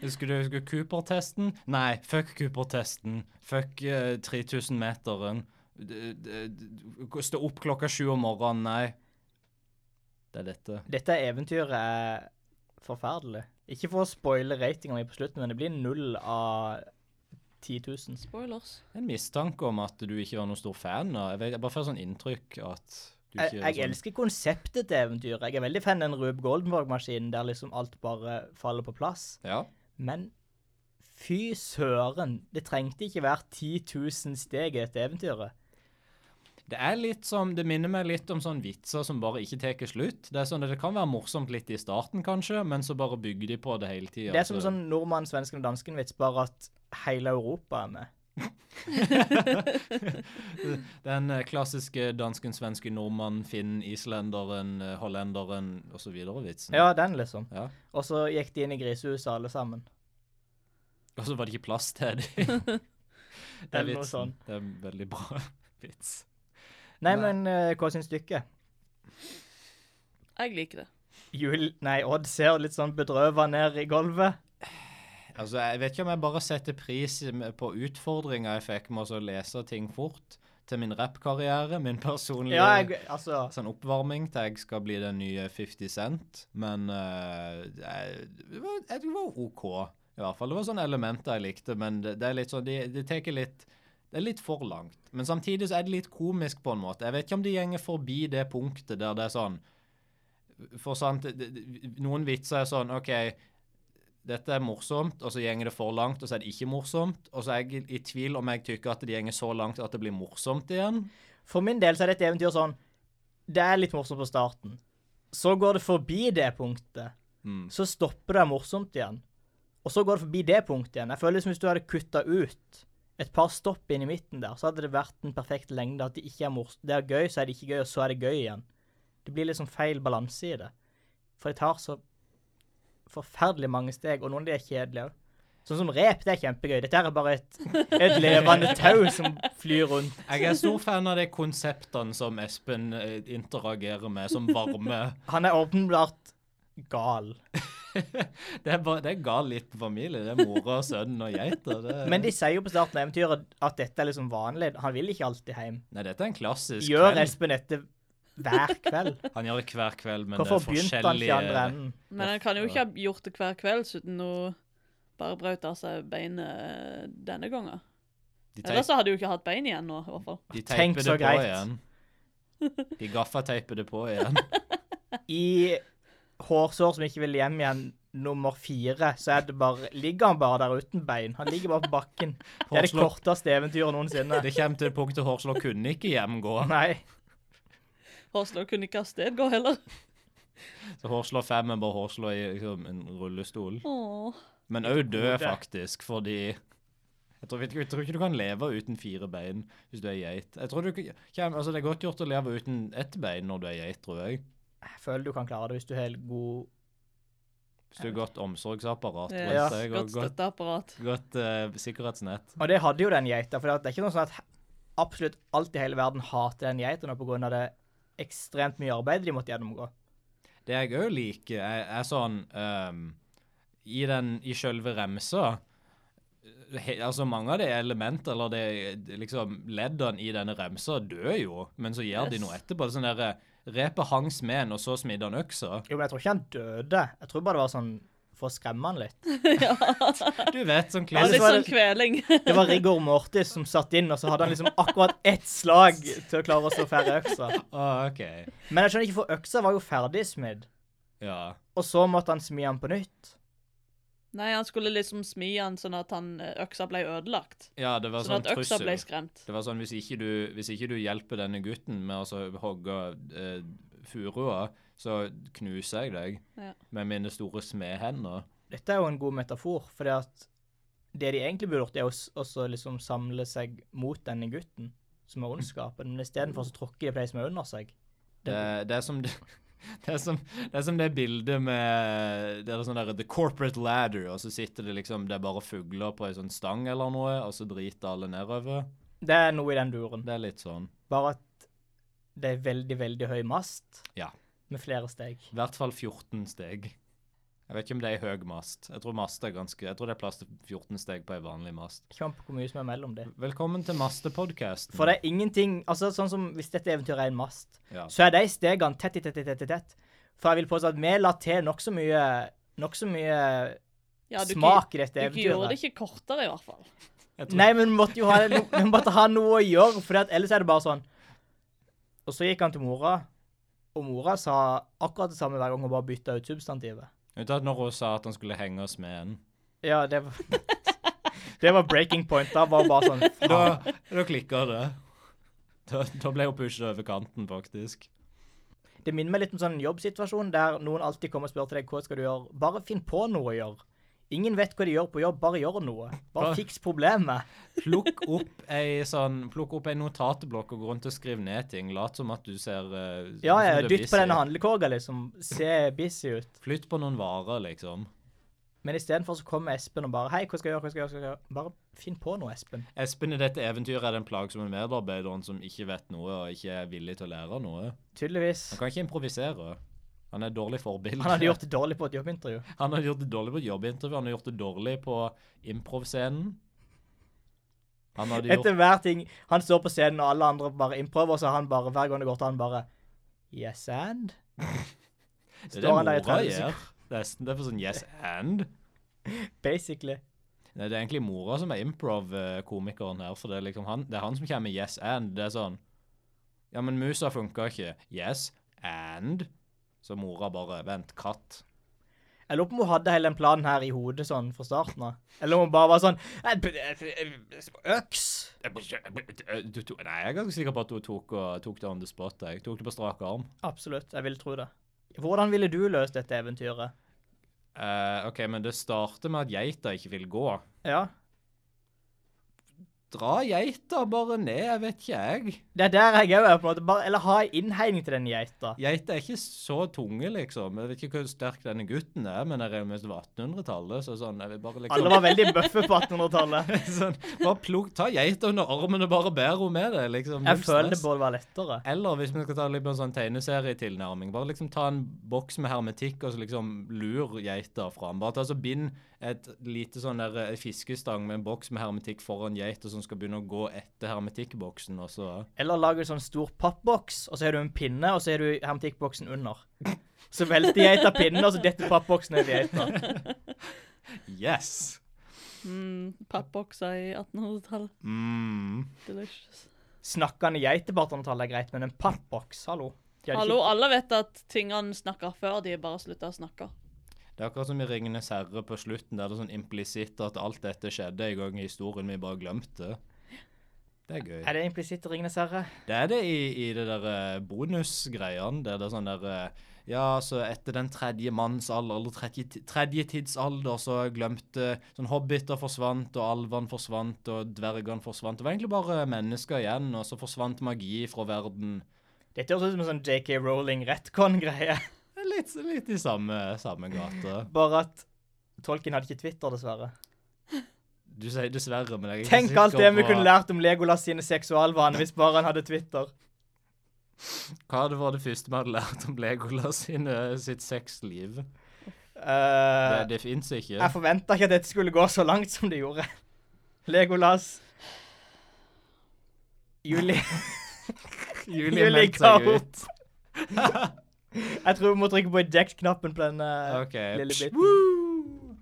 Speaker 3: Husker du, husker du Cooper-testen? Nei, fuck Cooper-testen. Fuck eh, 3000-meteren. D- d- d- Stå opp klokka sju om morgenen, nei. Det er dette.
Speaker 6: Dette eventyret er forferdelig. Ikke for å spoile ratinga mi på slutten, men det blir null av 10 000.
Speaker 4: Spoilers.
Speaker 3: En mistanke om at du ikke var noen stor fan. av- Jeg, vet, jeg bare får sånn inntrykk at du
Speaker 6: Jeg,
Speaker 3: ikke sånn-
Speaker 6: jeg elsker konseptet til eventyret. Jeg er veldig fan av den Rube Goldenborg-maskinen der liksom alt bare faller på plass.
Speaker 3: Ja.
Speaker 6: Men fy søren, det trengte ikke være 10 000 steg i dette eventyret.
Speaker 3: Det er litt som, det minner meg litt om sånne vitser som bare ikke tar slutt. Det er sånn at det kan være morsomt litt i starten, kanskje, men så bare bygger de på det hele tida.
Speaker 6: Det er som sånn nordmann, svensken og dansken-vits, bare at hele Europa er med.
Speaker 3: Den eh, klassiske dansken, svensken, nordmann, finnen, islenderen, eh, hollenderen osv.-vitsen.
Speaker 6: Ja, den liksom.
Speaker 3: Mm. Ja.
Speaker 6: Og så gikk de inn i grisehuset alle sammen.
Speaker 3: Og så var det ikke plass til dem. det er
Speaker 6: Eller noe
Speaker 3: vitsen.
Speaker 6: sånn.
Speaker 3: Det er en veldig bra vits.
Speaker 6: Nei,
Speaker 3: Nei.
Speaker 6: men eh, hva syns dere?
Speaker 4: Jeg liker det.
Speaker 6: Jul... Nei, Odd ser litt sånn bedrøva ned i gulvet.
Speaker 3: Altså, Jeg vet ikke om jeg bare setter pris med- på utfordringa jeg fikk med å så lese ting fort, til min rappkarriere, min personlige
Speaker 6: Ja, jeg, altså
Speaker 3: sånn oppvarming til jeg skal bli den nye 50 Cent, men eh, jeg, det var, jeg tror det var OK, i hvert fall. Det var sånne elementer jeg likte, men det, det er litt sånn, de, de teker litt det er litt for langt, men samtidig så er det litt komisk på en måte. Jeg vet ikke om de gjenger forbi det punktet der det er sånn For sant, det- det- noen vitser er sånn OK, dette er morsomt, og så gjenger det for langt, og så er det ikke morsomt. Og så er jeg i tvil om jeg tykker at det gjenger så langt at det blir morsomt igjen.
Speaker 6: For min del så er dette eventyr sånn Det er litt morsomt på starten. Så går det forbi det punktet. Så stopper det morsomt igjen. Og så går det forbi det punktet igjen. Jeg føler som hvis du hadde kutta ut et par stopp inn i midten der, så hadde det vært den perfekte lengde. At det ikke er morsomt. Det er gøy, så er det ikke gøy, og så er det gøy igjen. Det blir liksom feil balanse i det. For det tar så forferdelig mange steg, og noen av de er kjedelige òg. Sånn som rep, det er kjempegøy. Dette her er bare et, et levende tau som flyr rundt.
Speaker 3: Jeg er stor fan av de konseptene som Espen eh, interagerer med, som varme.
Speaker 6: Han er åpenbart gal.
Speaker 3: Det er, bare, det er gal liten familie. Det er mora, sønnen og geita. det-
Speaker 6: Men de sier jo på starten av eventyret at dette er liksom vanlig. Han vil ikke alltid hjem.
Speaker 3: Nei, dette er en klassisk
Speaker 6: Gjør
Speaker 3: kveld.
Speaker 6: Espen dette hver kveld?
Speaker 3: Han gjør det hver kveld, men
Speaker 6: Hvorfor
Speaker 3: det er
Speaker 6: begynte han ikke i
Speaker 3: forskjellige
Speaker 6: andre enden?
Speaker 4: Men han kan jo ikke ha gjort det hver kveld, siden hun bare brøt av seg beinet eh, denne gangen.
Speaker 3: De, teip,
Speaker 4: Ellers så hadde hun ikke hatt bein igjen nå, i hvert fall.
Speaker 3: de
Speaker 6: Tenk
Speaker 3: teiper det
Speaker 6: så
Speaker 3: på
Speaker 6: greit.
Speaker 3: igjen. De gaffateiper det på igjen.
Speaker 6: I hårsår som ikke vil hjem igjen, nummer fire, så er det bare, ligger han bare der uten bein. Han ligger bare på bakken. Det er det
Speaker 3: Hårslå-
Speaker 6: korteste eventyret noensinne.
Speaker 3: Det kommer til punktet Hårslå kunne ikke hjemgå.
Speaker 6: Nei.
Speaker 4: Hårslå kunne ikke av sted gå heller.
Speaker 3: Så Hårslå 5 er bare Hårslå i liksom, en rullestol.
Speaker 4: Åh.
Speaker 3: Men òg død,
Speaker 6: Hodet.
Speaker 3: faktisk, fordi jeg tror, jeg tror ikke du kan leve uten fire bein hvis du er geit. Jeg tror du, ikke- kjem, altså, Det er godt gjort å leve uten ett bein når du er geit, tror jeg.
Speaker 6: Jeg føler du kan klare det hvis du har god
Speaker 3: Hvis du har godt omsorgsapparat
Speaker 4: Ja,
Speaker 3: rundt deg og
Speaker 4: Godt
Speaker 3: godt,
Speaker 4: støtteapparat.
Speaker 3: godt eh, sikkerhetsnett.
Speaker 6: Og det hadde jo den geita, for det er ikke noe sånn at absolutt alt i hele verden hater den geita nå på grunn av det ekstremt mye arbeid de måtte gjennomgå.
Speaker 3: Det jeg òg liker, er, er sånn ehm, I den I sjølve remsa he, Altså, mange av de element, eller de liksom leddene i denne remsa, dør jo, men så gjør de
Speaker 4: Yes.
Speaker 3: noe etterpå. Det er sånn derre Repet hang smeden, og så smidde han øksa.
Speaker 6: Jo, men jeg tror ikke han dødde. Jeg tror bare det var sånn for å skremme han litt.
Speaker 4: Ja.
Speaker 3: Du vet, sånn
Speaker 4: Og
Speaker 6: Ellers
Speaker 3: klassisk
Speaker 4: litt
Speaker 6: var
Speaker 4: sånn
Speaker 6: det-
Speaker 4: kveling.
Speaker 6: Det var Rigor Mortis som satt inn, og så hadde han liksom akkurat ett slag til å klare å slå ferdig øksa.
Speaker 3: Å, OK.
Speaker 6: Men jeg skjønner ikke, for øksa var jo ferdig smidd,
Speaker 3: Ja.
Speaker 6: og så måtte han smi han på nytt.
Speaker 4: Nei, han skulle liksom smi han sånn at han, øksa ble ødelagt.
Speaker 3: ja, det var
Speaker 4: Sånn
Speaker 3: sånn
Speaker 4: at øksa
Speaker 3: trussel.
Speaker 4: ble skremt.
Speaker 3: Det var sånn, hvis ikke du, hvis ikke du hjelper denne gutten med å så hogge eh, furua, så knuser jeg deg
Speaker 4: Ja.
Speaker 3: med mine store smedhender.
Speaker 6: Dette er jo en god metafor, fordi at det de egentlig burde gjort, er å s- å så liksom samle seg mot denne gutten som er ondskapen, men istedenfor så tråkker de på de som er under seg.
Speaker 3: Det, det, er som, det, er som, det er som det bildet med Det er sånn der The Corporate Ladder, og så sitter det liksom Det er bare fugler på ei sånn stang eller noe, og så driter alle nedover.
Speaker 6: Det er noe i den duren.
Speaker 3: Det er litt sånn.
Speaker 6: Bare at det er veldig, veldig høy mast.
Speaker 3: Ja.
Speaker 6: Med flere steg.
Speaker 3: I hvert fall 14 steg. Jeg vet ikke om det er ei høy mast. Jeg tror mast er ganske Jeg tror det er plass til 14 steg på ei vanlig mast.
Speaker 6: Ikke an på hvor mye som er mellom det.
Speaker 3: Velkommen til Mastepodkasten.
Speaker 6: For det er ingenting Altså, sånn som hvis dette eventyret er en mast,
Speaker 3: Ja.
Speaker 6: så er de stegene tett i tett i tett i tett. For jeg vil påstå at vi la til nokså mye Nokså mye
Speaker 4: Ja, du,
Speaker 6: smak i
Speaker 4: du
Speaker 6: dette
Speaker 4: gjorde det
Speaker 6: eventyret.
Speaker 4: ikke kortere, i hvert fall.
Speaker 3: Jeg tror-
Speaker 6: Nei, men vi måtte jo ha, no, vi måtte ha noe å gjøre, for ellers er det bare sånn. Og så gikk han til mora, og mora sa akkurat det samme hver gang hun bare bytta ut substantivet.
Speaker 3: Unntatt når hun sa at han skulle henge oss med en.
Speaker 6: Ja, det var Det var breaking point. Da var bare sånn faen.
Speaker 3: Da, da klikka det. Da, da ble hun pusha over kanten, faktisk.
Speaker 6: Det minner meg litt om sånn jobbsituasjon der noen alltid kommer og spør til deg hva skal du gjøre. Bare finn på noe å gjøre. Ingen vet hva de gjør på jobb, bare gjør noe. Bare
Speaker 3: Bare-
Speaker 6: fiks problemet.
Speaker 3: Plukk opp ei sånn, plukk opp ei notatblokk og gå rundt og skriv ned ting. Lat som at du ser eh,
Speaker 6: Ja,
Speaker 3: som
Speaker 6: ja,
Speaker 3: du er
Speaker 6: dytt på
Speaker 3: busy.
Speaker 6: denne handlekorga, liksom. Se busy ut.
Speaker 3: Flytt på noen varer, liksom.
Speaker 6: Men istedenfor så kommer Espen og bare Hei, hva skal jeg gjøre, hva skal jeg gjøre? Hva skal jeg gjøre? Bare finn på noe, Espen.
Speaker 3: Espen i dette eventyret er den plagsomme medarbeideren som ikke vet noe og ikke er villig til å lære noe.
Speaker 6: Tydeligvis.
Speaker 3: Han kan ikke improvisere. Han er et dårlig forbilde.
Speaker 6: Han hadde gjort det dårlig på et jobbintervju.
Speaker 3: Han har gjort det dårlig på et jobbintervju, han har gjort det dårlig på improvscenen. Han hadde gjort
Speaker 6: Etter hver ting Han står på scenen, og alle andre bare improver, og så han bare Hver gang det går til han bare Yes and?
Speaker 3: Det er
Speaker 6: Står han der i
Speaker 3: det mora
Speaker 6: 30
Speaker 3: gjør. Det er, det er for sånn yes and.
Speaker 6: Basically.
Speaker 3: Nei, det er egentlig mora som er improv-komikeren her, for det er liksom han, det er han som kommer med yes and. Det er sånn Ja, men musa funka ikke. Yes and Så mora bare Vent, katt.
Speaker 6: Jeg lurer på om hun hadde hele den planen her i hodet sånn fra starten av. Eller om hun bare var sånn «Eh, b- eh, Øks!
Speaker 3: Nei, jeg er ganske sikker på at hun tok, og, tok det on the spot. Jeg tok det på strak arm.
Speaker 6: Absolutt, jeg vil tro det. Hvordan ville du løst dette eventyret?
Speaker 3: Eh, OK, men det starter med at geita ikke vil gå.
Speaker 6: Ja,
Speaker 3: Dra geita bare ned, jeg vet ikke jeg.
Speaker 6: det er der jeg òg er, på en måte. Bare, eller ha en innhegning til den geita.
Speaker 3: Geiter er ikke så tunge, liksom. Jeg vet ikke hvor sterk denne gutten er, men jeg regner med at det var 1800-tallet. Så sånn, jeg vil bare liksom...
Speaker 6: Alle Altså, var veldig bøffe på 1800-tallet.
Speaker 3: sånn, bare plukk, ta geita under armen og bare bær henne med det, liksom.
Speaker 6: Jeg
Speaker 3: Null
Speaker 6: føler det
Speaker 3: stress.
Speaker 6: burde være lettere.
Speaker 3: Eller hvis vi skal ta litt på en sånn tegneserietilnærming, bare liksom ta en boks med hermetikk og så liksom lur geita fram. Bare ta så bind et lite sånn der eh, fiskestang med en boks med hermetikk foran geita som skal begynne å gå etter hermetikkboksen, og så
Speaker 6: Eller lage en sånn stor pappboks, og så har du en pinne, og så har du hermetikkboksen under. Så velter geita pinnen, og så detter pappboksen ned i geita.
Speaker 3: Yes!
Speaker 4: Mm, Pappbokser i 1800-tallet.
Speaker 3: Mm.
Speaker 4: Delicious.
Speaker 6: Snakkende geiter på 1800-tallet er greit, men en pappboks, hallo. De hadde ikke-
Speaker 4: Hallo, alle vet at tingene snakker før de bare slutter å snakke.
Speaker 3: Det er akkurat som i 'Ringenes herre' på slutten, der det er sånn implisitt at alt dette skjedde en gang i historien, vi bare glemte. Det er gøy.
Speaker 6: Er det implisitt i 'Ringenes herre'?
Speaker 3: Det er det i, i det der eh, bonusgreiene, der det er sånn der eh, Ja, så etter den tredje mannsalder, eller tredje, ti- tredje tidsalder, så glemte Sånn hobbiter forsvant, og alvene forsvant, og dvergene forsvant. Det var egentlig bare mennesker igjen, og så forsvant magi fra verden.
Speaker 6: Dette høres ut som en sånn JK Rowling-retcon-greie.
Speaker 3: Det er Litt, litt i samme, samme gate.
Speaker 6: Bare at Tolkien hadde ikke Twitter, dessverre.
Speaker 3: Du sier dessverre, men jeg er ikke
Speaker 6: Tenk alt
Speaker 3: sikker
Speaker 6: det vi
Speaker 3: på-
Speaker 6: kunne lært om Legolas sine seksualvaner hvis bare han hadde Twitter.
Speaker 3: Hva hadde vært det første vi hadde lært om Legolas sin, eh, sitt sexliv?
Speaker 6: Eh,
Speaker 3: Det, det fins ikke.
Speaker 6: jeg forventa ikke at dette skulle gå så langt som det gjorde. Legolas Julie
Speaker 3: Julie
Speaker 6: Julie
Speaker 3: meldte
Speaker 6: ga
Speaker 3: seg
Speaker 6: opp.
Speaker 3: ut.
Speaker 6: Jeg tror vi må trykke på eject-knappen på denne
Speaker 3: OK.
Speaker 6: Eh, lille
Speaker 3: Psh,
Speaker 6: biten.
Speaker 3: woo!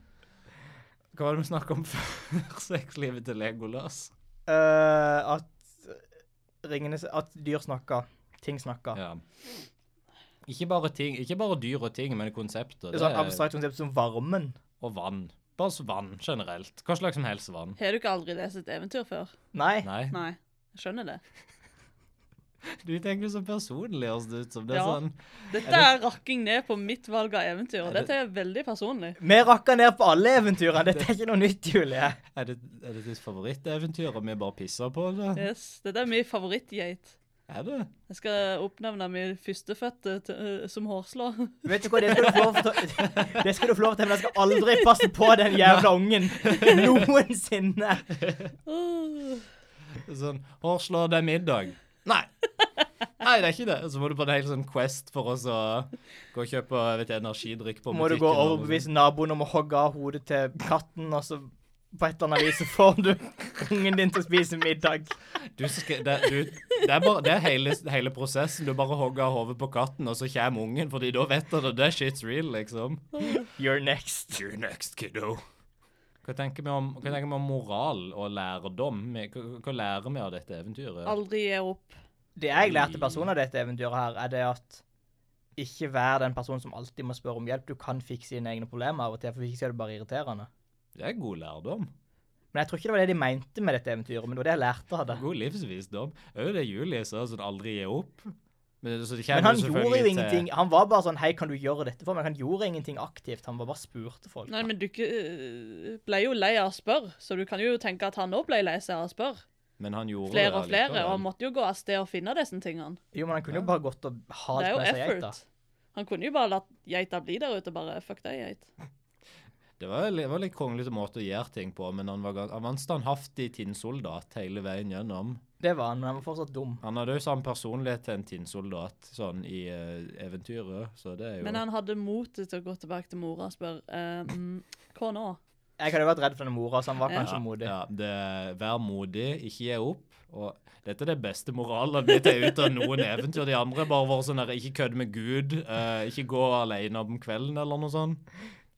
Speaker 3: Hva var det vi snakka om før sexlivet til Legolas?
Speaker 6: Eh, at ringene At dyr snakker. Ting snakker.
Speaker 3: Ja. Ikke bare, ting, ikke bare dyr og ting, men konsepter.
Speaker 6: Det er
Speaker 3: Det
Speaker 6: sånn
Speaker 3: er,
Speaker 6: abstrakt konsept som varmen.
Speaker 3: og vann. Bare så vann generelt. Hva slags som helst vann.
Speaker 4: Har du ikke aldri lest et eventyr før?
Speaker 6: Nei.
Speaker 3: Nei.
Speaker 4: Nei. Jeg skjønner det.
Speaker 3: Du tenker så personlig høres det ut som. Det er
Speaker 4: Ja.
Speaker 3: sånn
Speaker 4: Dette er rakking ned på mitt valg av eventyr, og
Speaker 3: Er det-
Speaker 4: dette er veldig personlig.
Speaker 6: Vi rakka ned på alle eventyrene. Dette er ikke noe nytt, Julie.
Speaker 3: Er det, er det ditt favoritteventyr, og vi bare pisser på det?
Speaker 4: Yes, Dette er min favorittgeit.
Speaker 3: Er det?
Speaker 4: Jeg skal oppnevne min førstefødte til- øh, som hårslå.
Speaker 6: Vet du hva, det skal du få lov til å- Det skal du få lov til, men jeg skal aldri passe på den jævla ungen. Noensinne.
Speaker 4: Åh.
Speaker 3: Sånn Hårslå, det er middag. Nei. Nei, det er ikke det. Så må du på en hel sånn quest for oss å gå og kjøpe vet, jeg, energidrikk på
Speaker 6: Må du
Speaker 3: butikken.
Speaker 6: gå og
Speaker 3: eller noe
Speaker 6: overbevise naboen om å hogge av hodet til katten, og så på et eller annet vis så får du ungen din til å spise middag.
Speaker 3: sånt. Du skal, det, du, det er, bare, det er hele, hele prosessen. Du bare hogger hodet på katten, og så kommer ungen, fordi da vet han at det er shit's real, liksom.
Speaker 6: You're next.
Speaker 3: You next, kiddo. Hva tenker vi om, hva tenker vi om moral og lærdom? Hva, hva lærer vi av dette eventyret?
Speaker 4: Aldri gi opp.
Speaker 6: Det jeg lærte personen av dette eventyret her, er det at ikke vær den personen som alltid må spørre om hjelp. Du kan fikse dine egne problemer av og til, for hvis ikke så er det bare irriterende.
Speaker 3: Det er god lærdom.
Speaker 6: Men jeg tror ikke det var det de mente med dette eventyret, men det var det jeg lærte av det.
Speaker 3: God livsvisdom. Òg det Julie sa, sånn aldri gi opp. Men, så det kommer
Speaker 6: Men han
Speaker 3: jo selvfølgelig
Speaker 6: gjorde jo
Speaker 3: til-
Speaker 6: ingenting. Han var bare sånn Hei, kan du gjøre dette for meg? Han gjorde ingenting aktivt. Han var bare spurte folk.
Speaker 4: Nei, men du ikke, øh, ble jo lei av å spørre, så du kan jo tenke at han òg ble lei seg av å spørre.
Speaker 3: Men han gjorde
Speaker 4: Flere og
Speaker 3: det
Speaker 4: flere, og
Speaker 3: allikevel.
Speaker 4: han måtte jo gå av sted og finne disse tingene.
Speaker 6: Jo, men han kunne jo bare gått og
Speaker 4: Det
Speaker 6: halt
Speaker 4: er jo
Speaker 6: på seg geita.
Speaker 4: effort. Han kunne jo bare latt geita bli der ute, bare fuck deg, geit.
Speaker 3: Det var, li- det var litt konglete måte å gjøre ting på, men han var, gan- han var en standhaftig tinnsoldat hele veien gjennom.
Speaker 6: Det var han, men han var fortsatt dum.
Speaker 3: Han hadde jo samme personlighet til en tinnsoldat sånn i eh, eventyret, så det er jo
Speaker 4: Men han hadde motet til å gå tilbake til mora og spørre eh, mm, hva nå?
Speaker 6: Jeg hadde jo vært redd for den mora, så han var
Speaker 4: Ja.
Speaker 6: kanskje modig.
Speaker 3: Ja, det, vær modig, ikke gi opp. Og dette er det beste moralen mitt er ut av noen eventyr. De andre har bare vært sånn der, ikke kødd med Gud, eh, ikke gå alene om kvelden eller noe sånt.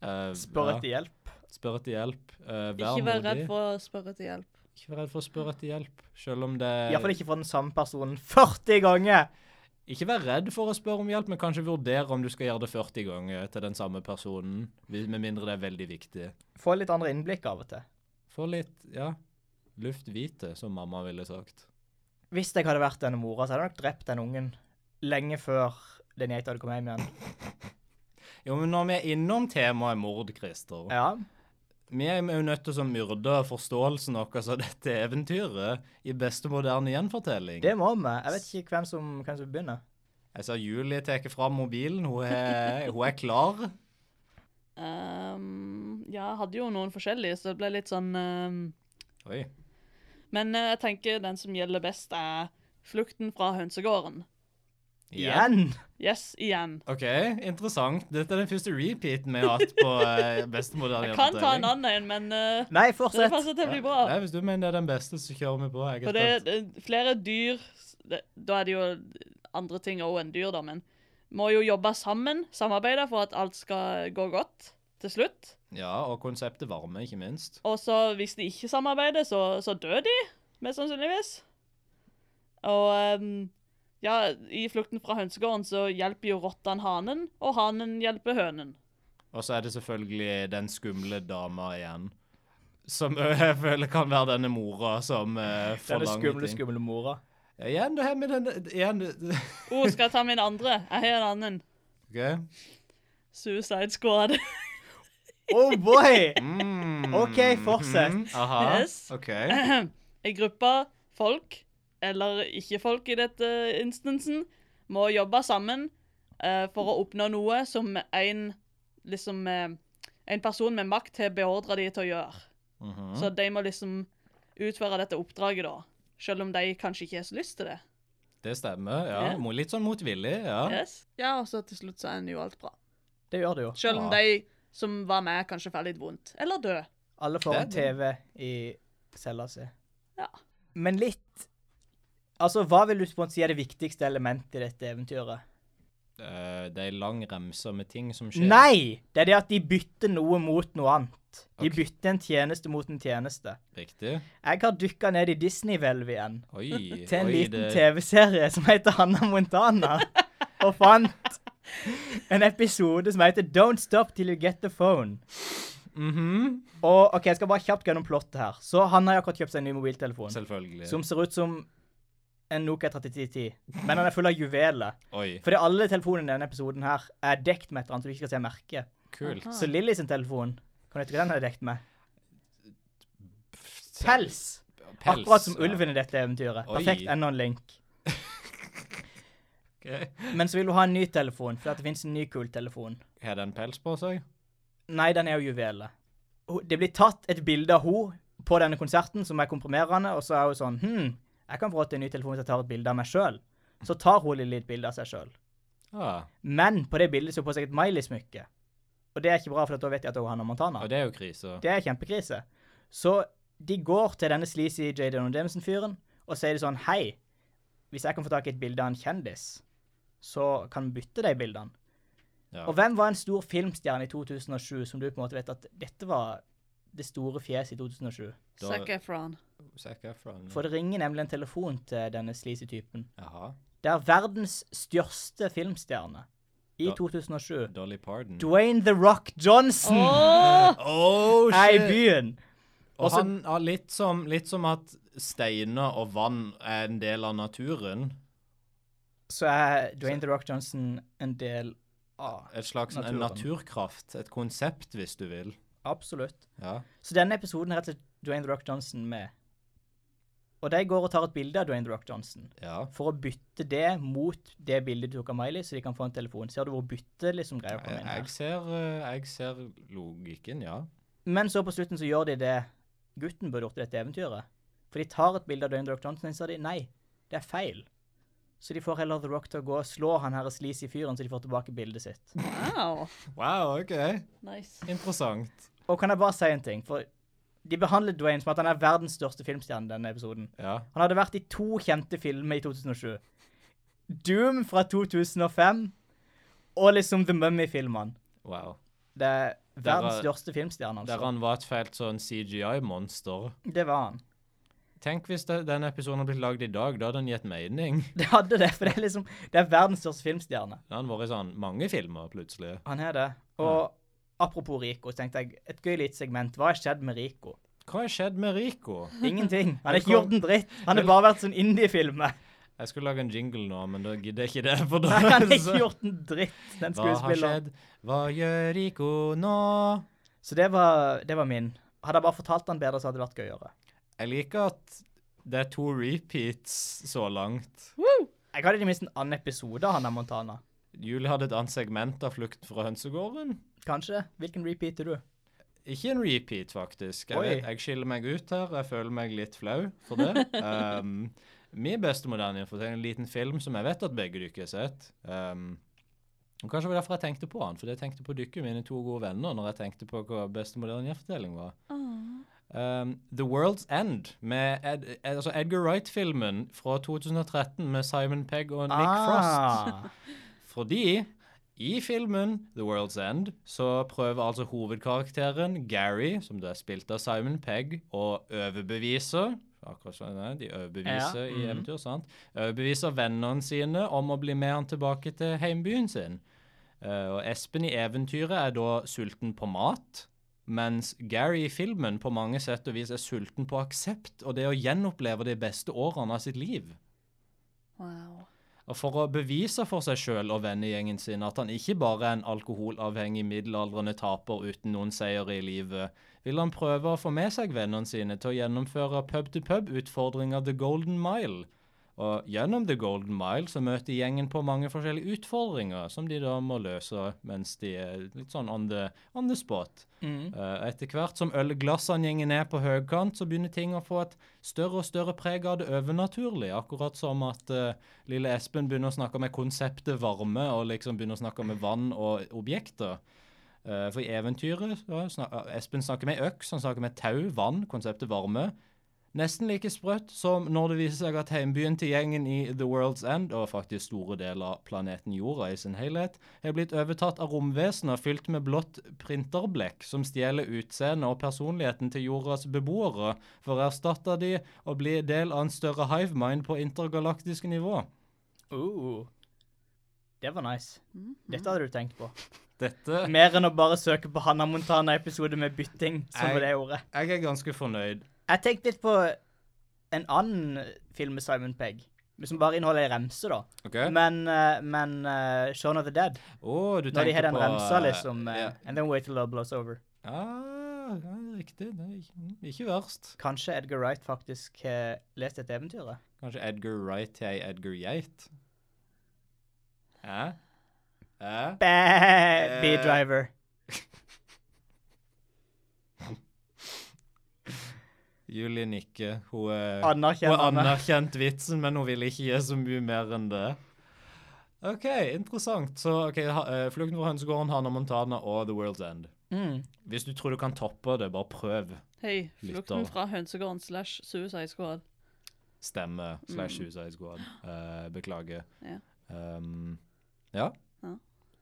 Speaker 3: Eh,
Speaker 6: Spør
Speaker 3: ja,
Speaker 6: etter hjelp.
Speaker 3: spør etter hjelp. eh, vær
Speaker 4: Ikke vær redd
Speaker 3: modig.
Speaker 4: for å spørre til hjelp.
Speaker 3: Ikke vær redd for å spørre etter hjelp, selv om det...
Speaker 6: Iallfall ikke fra den samme personen 40 ganger!
Speaker 3: Ikke vær redd for å spørre om hjelp, men kanskje vurdere om du skal gjøre det 40 ganger til den samme personen, hvis- med mindre det er veldig viktig.
Speaker 6: Få litt andre innblikk av og til.
Speaker 3: Få litt, ja, luft hvite, som mamma ville sagt.
Speaker 6: Hvis jeg hadde vært denne mora, så hadde jeg nok drept den ungen lenge før den geita hadde kommet hjem igjen.
Speaker 3: Jo, men når vi er innom temaet mord, Christer,
Speaker 6: Ja.
Speaker 3: vi er jo nødt til å myrde forståelsen vår av dette eventyret i beste moderne gjenfortelling.
Speaker 6: Det må vi. Jeg vet ikke hvem som, hvem som begynner.
Speaker 3: Jeg ser Julie tar fram mobilen, hun er, hun er klar.
Speaker 4: Ehm, ja, jeg hadde jo noen forskjellige, så det ble litt sånn ehm,
Speaker 3: Oi,
Speaker 4: Men eh, jeg tenker den som gjelder best, er flukten fra hønsegården.
Speaker 6: Igjen!
Speaker 4: Yes, igjen.
Speaker 3: Ok, interessant. Dette er den første repeaten vi har hatt på eh, beste moderne
Speaker 4: Jeg kan ta
Speaker 3: gjenfortelling.
Speaker 4: en annen en, men eh,
Speaker 6: Nei,
Speaker 4: det
Speaker 6: fortsett.
Speaker 4: passer til å bli
Speaker 3: Ja,
Speaker 4: bra.
Speaker 3: Nei, hvis du mener det er den beste, så kjører vi på. Jeg er
Speaker 4: For det
Speaker 3: spent.
Speaker 4: det- flere dyr det, Da er det jo andre ting òg enn dyr, da, men må jo jobbe sammen, samarbeide for at alt skal gå godt til slutt.
Speaker 3: Ja, og konseptet varme, ikke minst.
Speaker 4: Og så hvis de ikke samarbeider, så, så dør de, mest sannsynligvis. Og ehm, ja, i flukten fra hønsegården så hjelper jo rottene hanen, og hanen hjelper hønen.
Speaker 3: Og så er det selvfølgelig den skumle dama igjen. Som ø, jeg føler kan være denne mora som uh,
Speaker 6: Denne
Speaker 3: forlanger
Speaker 6: skumle,
Speaker 3: ting.
Speaker 6: skumle mora.
Speaker 3: Ja, Igjen, det her med den igjen,
Speaker 4: Å, skal jeg ta min andre? Jeg har en annen.
Speaker 3: Ok.
Speaker 4: Suicide Squad.
Speaker 6: Oh boy!
Speaker 3: Mm.
Speaker 6: OK, fortsett.
Speaker 3: Mhm. Aha.
Speaker 4: Yes.
Speaker 3: OK.
Speaker 4: En gruppe folk, eller ikke folk i dette instansen, må jobbe sammen eh, for å oppnå noe som en, liksom, eh, en person med makt har beordra de til å gjøre.
Speaker 3: Mhm.
Speaker 4: Så de må liksom utføre dette oppdraget, da. Selv om de kanskje ikke har så lyst til det.
Speaker 3: Det stemmer. ja.
Speaker 4: Ja.
Speaker 3: Mo- Litt sånn motvillig, ja. Ah.
Speaker 4: Yes. Ja, og så til slutt så ender jo alt bra.
Speaker 6: Det gjør det jo.
Speaker 4: Selv om
Speaker 3: Ja.
Speaker 4: de som var med, kanskje får litt vondt. Eller dø.
Speaker 6: Alle får en
Speaker 3: Det er
Speaker 6: TV i cella si.
Speaker 4: Ja.
Speaker 6: Men litt Altså, hva vil du på en måte si er det viktigste elementet i dette eventyret?
Speaker 3: Eh, det er en lang remse med ting som skjer.
Speaker 6: Nei! Det er det at de bytter noe mot noe annet. De
Speaker 3: Ok.
Speaker 6: bytter en tjeneste mot en tjeneste.
Speaker 3: Riktig.
Speaker 6: Jeg har dykka ned i Disney-hvelvet igjen.
Speaker 3: Oi.
Speaker 6: til en
Speaker 3: oi,
Speaker 6: liten
Speaker 3: det-
Speaker 6: TV-serie som heter Hanna Montana. og fant en episode som heter Don't Stop Till You Get The Phone.
Speaker 3: Mhm.
Speaker 6: Og ok, Jeg skal bare kjapt gjennom plottet her. Så Han har akkurat kjøpt seg en ny mobiltelefon
Speaker 3: Selvfølgelig.
Speaker 6: som ser ut som en Nokia 3310. Men den er full av juveler.
Speaker 3: Oi.
Speaker 6: Fordi alle telefonene i denne episoden her er dekt med et eller annet du ikke skal se merket.
Speaker 3: Kult.
Speaker 4: Ah.
Speaker 6: Så Lilly sin telefon, kan du gjette hva den er dekt med? Pels!
Speaker 3: Pels,
Speaker 6: Akkurat som
Speaker 3: ja.
Speaker 6: ulven i dette eventyret.
Speaker 3: Oi.
Speaker 6: Perfekt enda en link.
Speaker 3: Ok.
Speaker 6: Men så vil du ha en ny telefon, for det fins en ny kul telefon.
Speaker 3: Har den pels på seg?
Speaker 6: Nei, den er jo juvelet. Ho- Det blir tatt et bilde av henne på denne konserten, som er komprimerende, og så er hun sånn Hm, jeg kan få til en ny telefon hvis jeg tar et bilde av meg sjøl. Så tar hun Lilly et bilde av seg sjøl.
Speaker 3: Ja.
Speaker 6: Men på det bildet så har hun på seg et Miley-smykke. Og det er ikke bra, for da vet jeg at hun er Hannah Montana.
Speaker 3: Og det er jo krise.
Speaker 6: Det er kjempekrise. Så de går til denne sleazy J. Donald Jameson-fyren og sier det sånn Hei, hvis jeg kan få tak i et bilde av en kjendis, så kan vi bytte de bildene.
Speaker 3: Ja.
Speaker 6: Og hvem var en stor filmstjerne i 2007 som du på en måte vet at dette var det store fjeset i 2007?
Speaker 3: Da-
Speaker 4: Zac Efron.
Speaker 3: Zac Efron.
Speaker 6: For det ringer nemlig en telefon til denne sleazy typen.
Speaker 3: Jaha.
Speaker 6: Det er verdens største filmstjerne i
Speaker 3: Da-
Speaker 6: 2007.
Speaker 3: Dolly Parton.
Speaker 6: Dwayne The Rock Johnson
Speaker 4: Åh!
Speaker 3: Oh,
Speaker 6: er i byen.
Speaker 3: Og
Speaker 6: Også-
Speaker 3: han har litt som, litt som at steiner og vann er en del av naturen.
Speaker 6: så er Dwayne The Rock Johnson en del av
Speaker 3: Et slags en
Speaker 6: Naturen. naturkraft,
Speaker 3: naturkraft. Et konsept, hvis du vil.
Speaker 6: Absolutt.
Speaker 3: Ja.
Speaker 6: Så denne episoden er rett og slett Dwayne The Rock Johnson med. Og de går og tar et bilde av Dwayne The Rock Johnson
Speaker 3: ja.
Speaker 6: for å bytte det mot det bildet du tok av Miley, så de kan få en telefon. Ser du hvor bytte liksom greier kommer
Speaker 3: Jeg,
Speaker 6: inn her?
Speaker 3: jeg, ser, eh, jeg ser logikken, ja.
Speaker 6: Men så på slutten så gjør de det gutten burde gjort i dette eventyret. For de tar et bilde av Dwayne The Rock Johnson, og så sier de nei, det er feil. Så de får heller The Rock til å gå og slå han her sleazy fyren, så de får tilbake bildet sitt.
Speaker 4: Wow.
Speaker 3: Wow, OK.
Speaker 4: Nice.
Speaker 3: Interessant.
Speaker 6: Og kan jeg bare si en ting? For de behandler Dwayne som at han er verdens største filmstjerne i denne episoden.
Speaker 3: Ja.
Speaker 6: Han hadde vært i to kjente filmer i 2007. Doom fra 2005 og liksom The Mummy-filmene.
Speaker 3: Wow.
Speaker 6: Det er
Speaker 3: Der
Speaker 6: verdens
Speaker 3: er-
Speaker 6: største filmstjerne,
Speaker 3: Der
Speaker 6: altså.
Speaker 3: han var et fælt sånn CGI-monster.
Speaker 6: Det var han.
Speaker 3: Tenk hvis det, den episoden hadde blitt lagd i dag. Da hadde den gitt mening.
Speaker 6: Det hadde det, for det er liksom Det er verdens største filmstjerne.
Speaker 3: Da hadde den vært i sånn mange filmer, plutselig.
Speaker 6: Han er det. Og apropos Rico, så tenkte jeg et gøy lite segment. Hva har skjedd med Rico?
Speaker 3: Hva har skjedd med Rico?
Speaker 6: Ingenting. Han har ikke
Speaker 3: Velkommen.
Speaker 6: gjort en dritt. Han har bare vært sånn indie-filmer.
Speaker 3: Jeg skulle lage en jingle nå, men da gidder jeg ikke det. For da,
Speaker 6: Han har ikke gjort en dritt, den
Speaker 3: Hva har
Speaker 6: skuespilleren.
Speaker 3: skjedd? Hva gjør Rico nå?
Speaker 6: Så det var, det var min. Hadde jeg bare fortalt han bedre, så hadde det vært gøyere.
Speaker 3: Jeg liker at det er to repeats så langt.
Speaker 4: Woo!
Speaker 6: Jeg hadde i det minste en annen episode av han der Montana.
Speaker 3: Julie hadde et annet segment av Flukt fra hønsegården.
Speaker 6: Kanskje? Hvilken repeat er du?
Speaker 3: Ikke en repeat, faktisk. Jeg,
Speaker 6: Oi.
Speaker 3: vet, jeg skiller meg ut her. Jeg føler meg litt flau for det. Um, min beste moderne info er en liten film som jeg vet at begge dere har sett. Um, og kanskje det var derfor jeg tenkte på han, fordi jeg tenkte på dere, mine to gode venner, når jeg tenkte på hva beste moderne fortelling var. Um, The World's End, med Ed, Ed, altså Edgar Wright-filmen fra 2013 med Simon Pegg og Nick
Speaker 6: Ah.
Speaker 3: Frost. Fordi i filmen The World's End så prøver altså hovedkarakteren Gary, som da er spilt av Simon Pegg, å overbevise Akkurat sånn det er, de overbeviser
Speaker 6: Ja,
Speaker 3: i eventyr, sant? Overbeviser vennene sine om å bli med han tilbake til heimbyen sin. Eh, og Espen i eventyret er da sulten på mat, mens Gary i filmen på mange sett og vis er sulten på aksept og det å gjenoppleve de beste årene av sitt liv.
Speaker 4: Wow.
Speaker 3: Og For å bevise for seg sjøl og vennegjengen sin at han ikke bare er en alkoholavhengig middelaldrende taper uten noen seier i livet, vil han prøve å få med seg vennene sine til å gjennomføre pub-to-pub-utfordringa The Golden Mile. Og gjennom The Golden Mile så møter gjengen på mange forskjellige utfordringer som de da må løse mens de er litt sånn on the, on the spot.
Speaker 6: Mm.
Speaker 3: Eh, Etter hvert som ølglassene gjenger ned på høykant, så begynner ting å få et større og større preg av det overnaturlige. Akkurat som at eh, lille Espen begynner å snakke med konseptet varme, og liksom begynner å snakke med vann og objekter. Eh, for i eventyret så snak eh, Espen snakker med øks, han snakker med tau, vann, konseptet varme. Nesten like sprøtt som når det viser seg at heimbyen til gjengen i The World's End, og faktisk store deler av planeten Jorda i sin helhet, er blitt overtatt av romvesener fylt med blått printerblekk, som stjeler utseendet og personligheten til jordas beboere, for å erstatte de og bli del av en større hivemind på intergalaktisk nivå.
Speaker 6: Uh. Det var nice.
Speaker 3: Mhm.
Speaker 6: Dette hadde du tenkt på.
Speaker 3: Dette
Speaker 6: Mer enn å bare søke på Hannah Montana-episode med bytting, som var det ordet.
Speaker 3: Jeg er ganske fornøyd.
Speaker 6: Jeg tenkte litt på en annen film med Simon Pegg, som bare inneholder ei remse, da.
Speaker 3: OK?
Speaker 6: Men, eh, men eh, Shaun of the Dead,
Speaker 3: Å, du
Speaker 6: når de har
Speaker 3: tenker
Speaker 6: den
Speaker 3: på
Speaker 6: remsa, liksom eh,
Speaker 3: Ja,
Speaker 6: And then wait till love blows over.
Speaker 3: Ah, ja, riktig. Det er ikke, mm, ikke verst.
Speaker 6: Kanskje Edgar Wright faktisk eh, har lest dette eventyret?
Speaker 3: Kanskje Edgar Wright til ei Edgar Geit? Hæ? Hæ?
Speaker 6: Bæ, B-driver.
Speaker 3: Julie nikker. Hun er Hun
Speaker 6: Anerkjennende.
Speaker 3: anerkjente vitsen, men hun ville ikke gi så mye mer enn det. OK, interessant. Så ok, ha, eh, Flukten fra hønsegården, Hannah Montana og The World's End.
Speaker 6: Mm.
Speaker 3: Hvis du tror du kan toppe det, bare prøv.
Speaker 4: Hei,
Speaker 3: Lytter.
Speaker 4: flukten fra hønsegården slash Suicide Squad.
Speaker 3: Stemme slash Suicide Squad. Eh, beklager.
Speaker 4: Mm. Ja.
Speaker 3: Um, ja.
Speaker 4: Ja.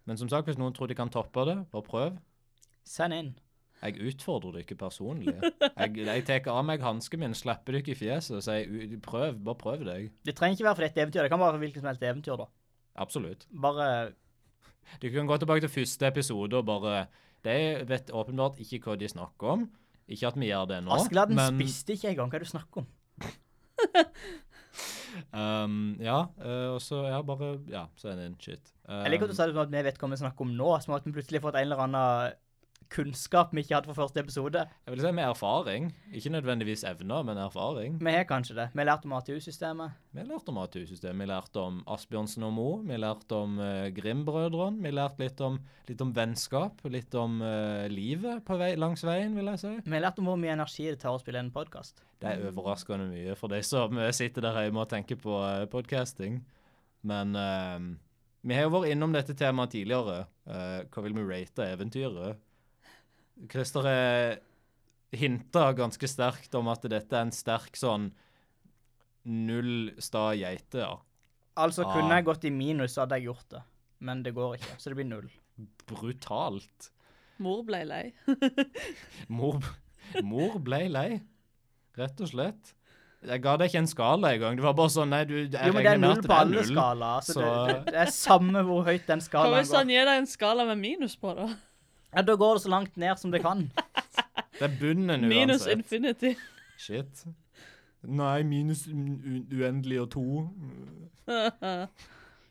Speaker 3: Men som sagt, hvis noen tror de kan toppe det, bare prøv.
Speaker 6: Send inn.
Speaker 3: Jeg utfordrer dere ikke personlig. Jeg, jeg tar av meg hansken min, slipper dere i fjeset og sier "U- prøv, bare prøv deg.
Speaker 6: Det trenger ikke være for dette eventyret. Det kan være for hvilket som helst eventyr, da.
Speaker 3: Absolutt.
Speaker 6: Bare
Speaker 3: Du kan gå tilbake til første episode og bare De vet åpenbart ikke hva de snakker om. Ikke at vi gjør det nå,
Speaker 6: Askeladden
Speaker 3: men
Speaker 6: spiste ikke engang. Hva er det du snakker om?
Speaker 3: um, Ja, eh, og så ja, bare Ja, send inn shit. Um,
Speaker 6: Jeg liker at du sa det som at vi vet hva vi snakker om nå, som at vi plutselig har fått en eller annen eh, kunnskap vi ikke hadde fra første episode.
Speaker 3: Jeg vil si med erfaring. Ikke nødvendigvis evner, men erfaring.
Speaker 6: Vi har kanskje det. Vi har lært om ATU-systemet.
Speaker 3: Vi lærte om ATU-systemet. Vi lærte om Asbjørnsen og Moe. Vi lærte om eh, Grim-brødrene. Vi lærte litt om, litt om vennskap. Litt om eh, livet på vei, langs veien, vil jeg si.
Speaker 6: Vi har lært om hvor mye energi det tar å spille en podkast.
Speaker 3: Det er overraskende mye for de som eh, sitter der hjemme og tenker på eh, podcasting. Men eh, vi har jo vært innom dette temaet tidligere. Eh, hva vil vi rate eventyret? Christer eh, hinta ganske sterkt om at dette er en sterk sånn null sta geite. Ja.
Speaker 6: Altså,
Speaker 3: Ah.
Speaker 6: kunne jeg gått i minus, så hadde jeg gjort det. Men det går ikke, så det blir null.
Speaker 3: Brutalt.
Speaker 4: Mor ble lei.
Speaker 3: Mor, mor ble lei, rett og slett. Jeg ga deg ikke en skala engang. Det var bare sånn Nei, du, jeg
Speaker 6: Jo, men det er
Speaker 3: regner med
Speaker 6: null
Speaker 3: at
Speaker 6: på alle
Speaker 3: null.
Speaker 6: skalaer, så,
Speaker 3: så-
Speaker 6: Det, det, det er samme hvor høyt den
Speaker 4: Hva
Speaker 6: skalaen
Speaker 4: hvis han
Speaker 6: går.
Speaker 4: gir deg en skala med minus på, da?
Speaker 6: Ja, da går det så langt ned som det kan.
Speaker 3: Det er bunnen uansett.
Speaker 4: Minus infinity.
Speaker 3: Shit. Nei, minus uendelig og to.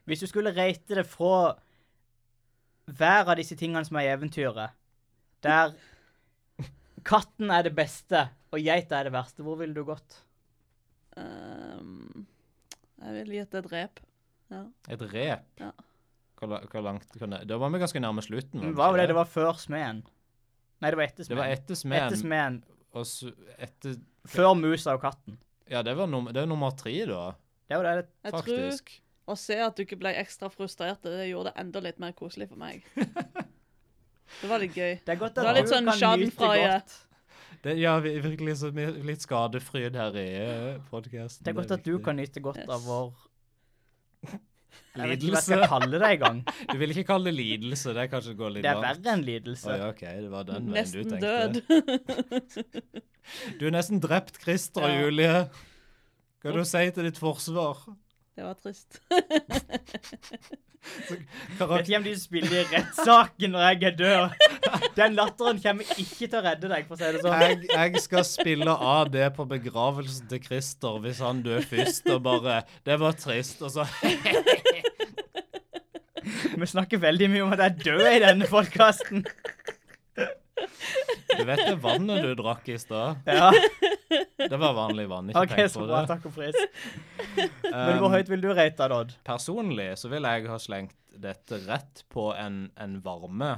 Speaker 6: Hvis du skulle rate det fra hver av disse tingene som er i eventyret, der katten er det beste og geita er det verste, hvor ville du gått?
Speaker 4: Ehm, jeg vil gi et drep. Ja.
Speaker 3: Et rep.
Speaker 4: Ja.
Speaker 3: Hvor, la- hvor langt kan det Da var vi ganske nærme slutten.
Speaker 6: Men
Speaker 3: vi
Speaker 6: Hva
Speaker 3: ikke
Speaker 6: var det det var før smeden? Nei, det var etter
Speaker 3: Det var
Speaker 6: smeden.
Speaker 3: etter
Speaker 6: Etter
Speaker 3: smeden.
Speaker 6: smeden.
Speaker 3: Og så etter
Speaker 6: Før musa og katten.
Speaker 3: Ja, det, var num det er nummer tre, da.
Speaker 6: Det var det.
Speaker 4: Jeg
Speaker 3: Faktisk.
Speaker 4: tror å se at du ikke ble ekstra frustrert, det gjorde det enda litt mer koselig for meg. Det var litt gøy.
Speaker 6: Det er godt
Speaker 4: Det
Speaker 6: at
Speaker 4: var litt
Speaker 6: du
Speaker 4: sånn
Speaker 6: kan nyte
Speaker 4: schadenfreude.
Speaker 6: godt.
Speaker 3: Det, ja, vi, virkelig så vi, litt skadefryd her i eh, podcasten.
Speaker 6: Det er godt at du
Speaker 3: viktig.
Speaker 6: kan nyte godt
Speaker 4: Yes.
Speaker 6: av vår Jeg vet ikke hva jeg skal
Speaker 3: Lidelse.
Speaker 6: kalle det engang.
Speaker 3: Du vil ikke kalle det lidelse, det er kanskje å gå litt
Speaker 6: Det er
Speaker 3: langt.
Speaker 6: verre enn
Speaker 3: Å
Speaker 6: lidelse.
Speaker 3: ja, OK, det var den veien du
Speaker 4: Nesten
Speaker 3: tenkte.
Speaker 4: død.
Speaker 3: Du har nesten drept Christer og
Speaker 4: Ja.
Speaker 3: Julie. Hva er det du sier til ditt forsvar?
Speaker 4: Det var trist.
Speaker 3: Karak
Speaker 6: Dette kommer de til å spille i rettssaken når jeg er død. Den latteren kommer ikke til å redde deg, for å si det sånn.
Speaker 3: jeg, jeg skal spille av det på begravelsen til Christer hvis han dør først, og bare Det var trist, og så
Speaker 6: Vi snakker veldig mye om at jeg er død i denne podkasten.
Speaker 3: Du vet det vannet du drakk i stad?
Speaker 6: Ja,
Speaker 3: Det var vanlig vann. Ikke
Speaker 6: OK,
Speaker 3: tenk
Speaker 6: så
Speaker 3: på
Speaker 6: bra.
Speaker 3: det.
Speaker 6: Takk og pris. Men hvor
Speaker 3: Um,
Speaker 6: høyt vil du rate, Dodd?
Speaker 3: Personlig så vil jeg ha slengt dette rett på en, en varme.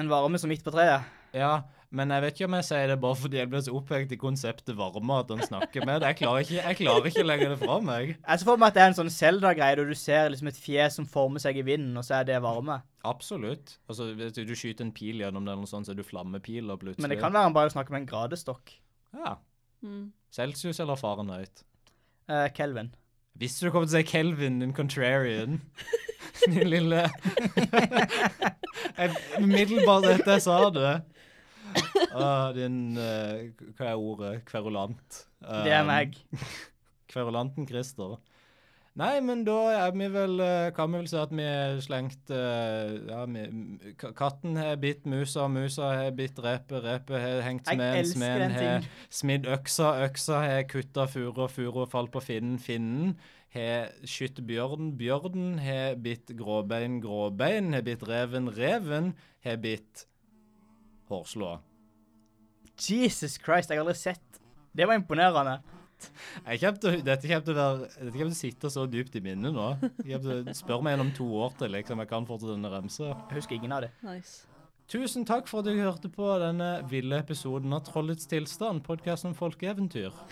Speaker 6: En varme som midt på treet?
Speaker 3: Ja, men jeg vet ikke om jeg sier det bare fordi jeg ble så opphengt i konseptet varme at han snakker med det. Jeg klarer ikke, jeg klarer ikke å legge det fra meg.
Speaker 6: Jeg ser for meg at det er en sånn Zelda-greie, der du ser liksom et fjes som former seg i vinden, og så er det varme.
Speaker 3: Absolutt. Altså, hvis du skyter en pil gjennom det, eller noe sånt, så er du flammepil og plutselig.
Speaker 6: Men det kan være han bare snakker med en gradestokk.
Speaker 3: Ja.
Speaker 4: Mm.
Speaker 3: Celsius eller Fahrenheit.
Speaker 6: Eh, Kelvin.
Speaker 3: Visste du kom til å si Kelvin, din contrarian? Din lille Jeg- Umiddelbart etter jeg sa det. Ah, din eh, Hva er ordet? Kverulant.
Speaker 6: Det er
Speaker 3: Um,
Speaker 6: meg.
Speaker 3: Kverulanten Christer. Nei, men da er vi vel, eh, kan vi vel si at vi er slengt eh, ja, vi, m- k- Katten har bitt musa, musa har bitt repet, repet har hengt
Speaker 6: Jeg
Speaker 3: smeden,
Speaker 6: elsker
Speaker 3: smeden
Speaker 6: den
Speaker 3: har
Speaker 6: ting.
Speaker 3: smidd øksa, øksa har kutta furua, furua falt på finnen, finnen har skutt bjørn, bjørnen har bitt gråbein, gråbein har bitt reven, reven har bitt hårslåa.
Speaker 6: Jesus Christ, jeg har aldri sett Det var imponerende.
Speaker 3: Jeg kommer til, å- dette kommer til å være, dette kommer til å sitte så dypt i minnet nå. Jeg kommer til å spørre meg gjennom to år til liksom jeg kan fortsette denne remsa.
Speaker 6: Jeg husker ingen av det.
Speaker 4: Nice.
Speaker 3: Tusen takk for at du hørte på denne ville episoden av Trollets tilstand, podkasten om folkeeventyr. uh,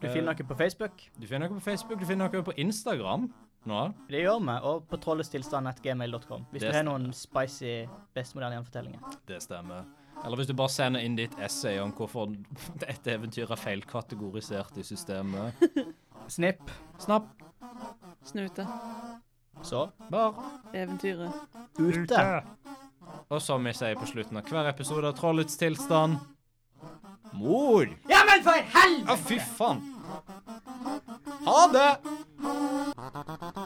Speaker 6: Du finner noe på Facebook.
Speaker 3: Du finner noe på Facebook, du finner noe på Instagram nå.
Speaker 6: Det gjør vi. Og på trollestilstand.gmail.com. Hvis
Speaker 3: Det
Speaker 6: du har noen spicy bestemoderne gjenfortellinger.
Speaker 3: Det stemmer. Eller hvis du bare sender inn ditt essay om hvorfor et eventyr er feilkategorisert i systemet.
Speaker 6: Snipp.
Speaker 3: Snapp,
Speaker 4: Snute.
Speaker 6: Så
Speaker 3: bar.
Speaker 4: Eventyret.
Speaker 6: ute.
Speaker 3: Og som vi sier på slutten av hver episode av Trollets tilstand Mor!
Speaker 6: Ja, men for helvete!
Speaker 3: Ja, fy faen! Ha det!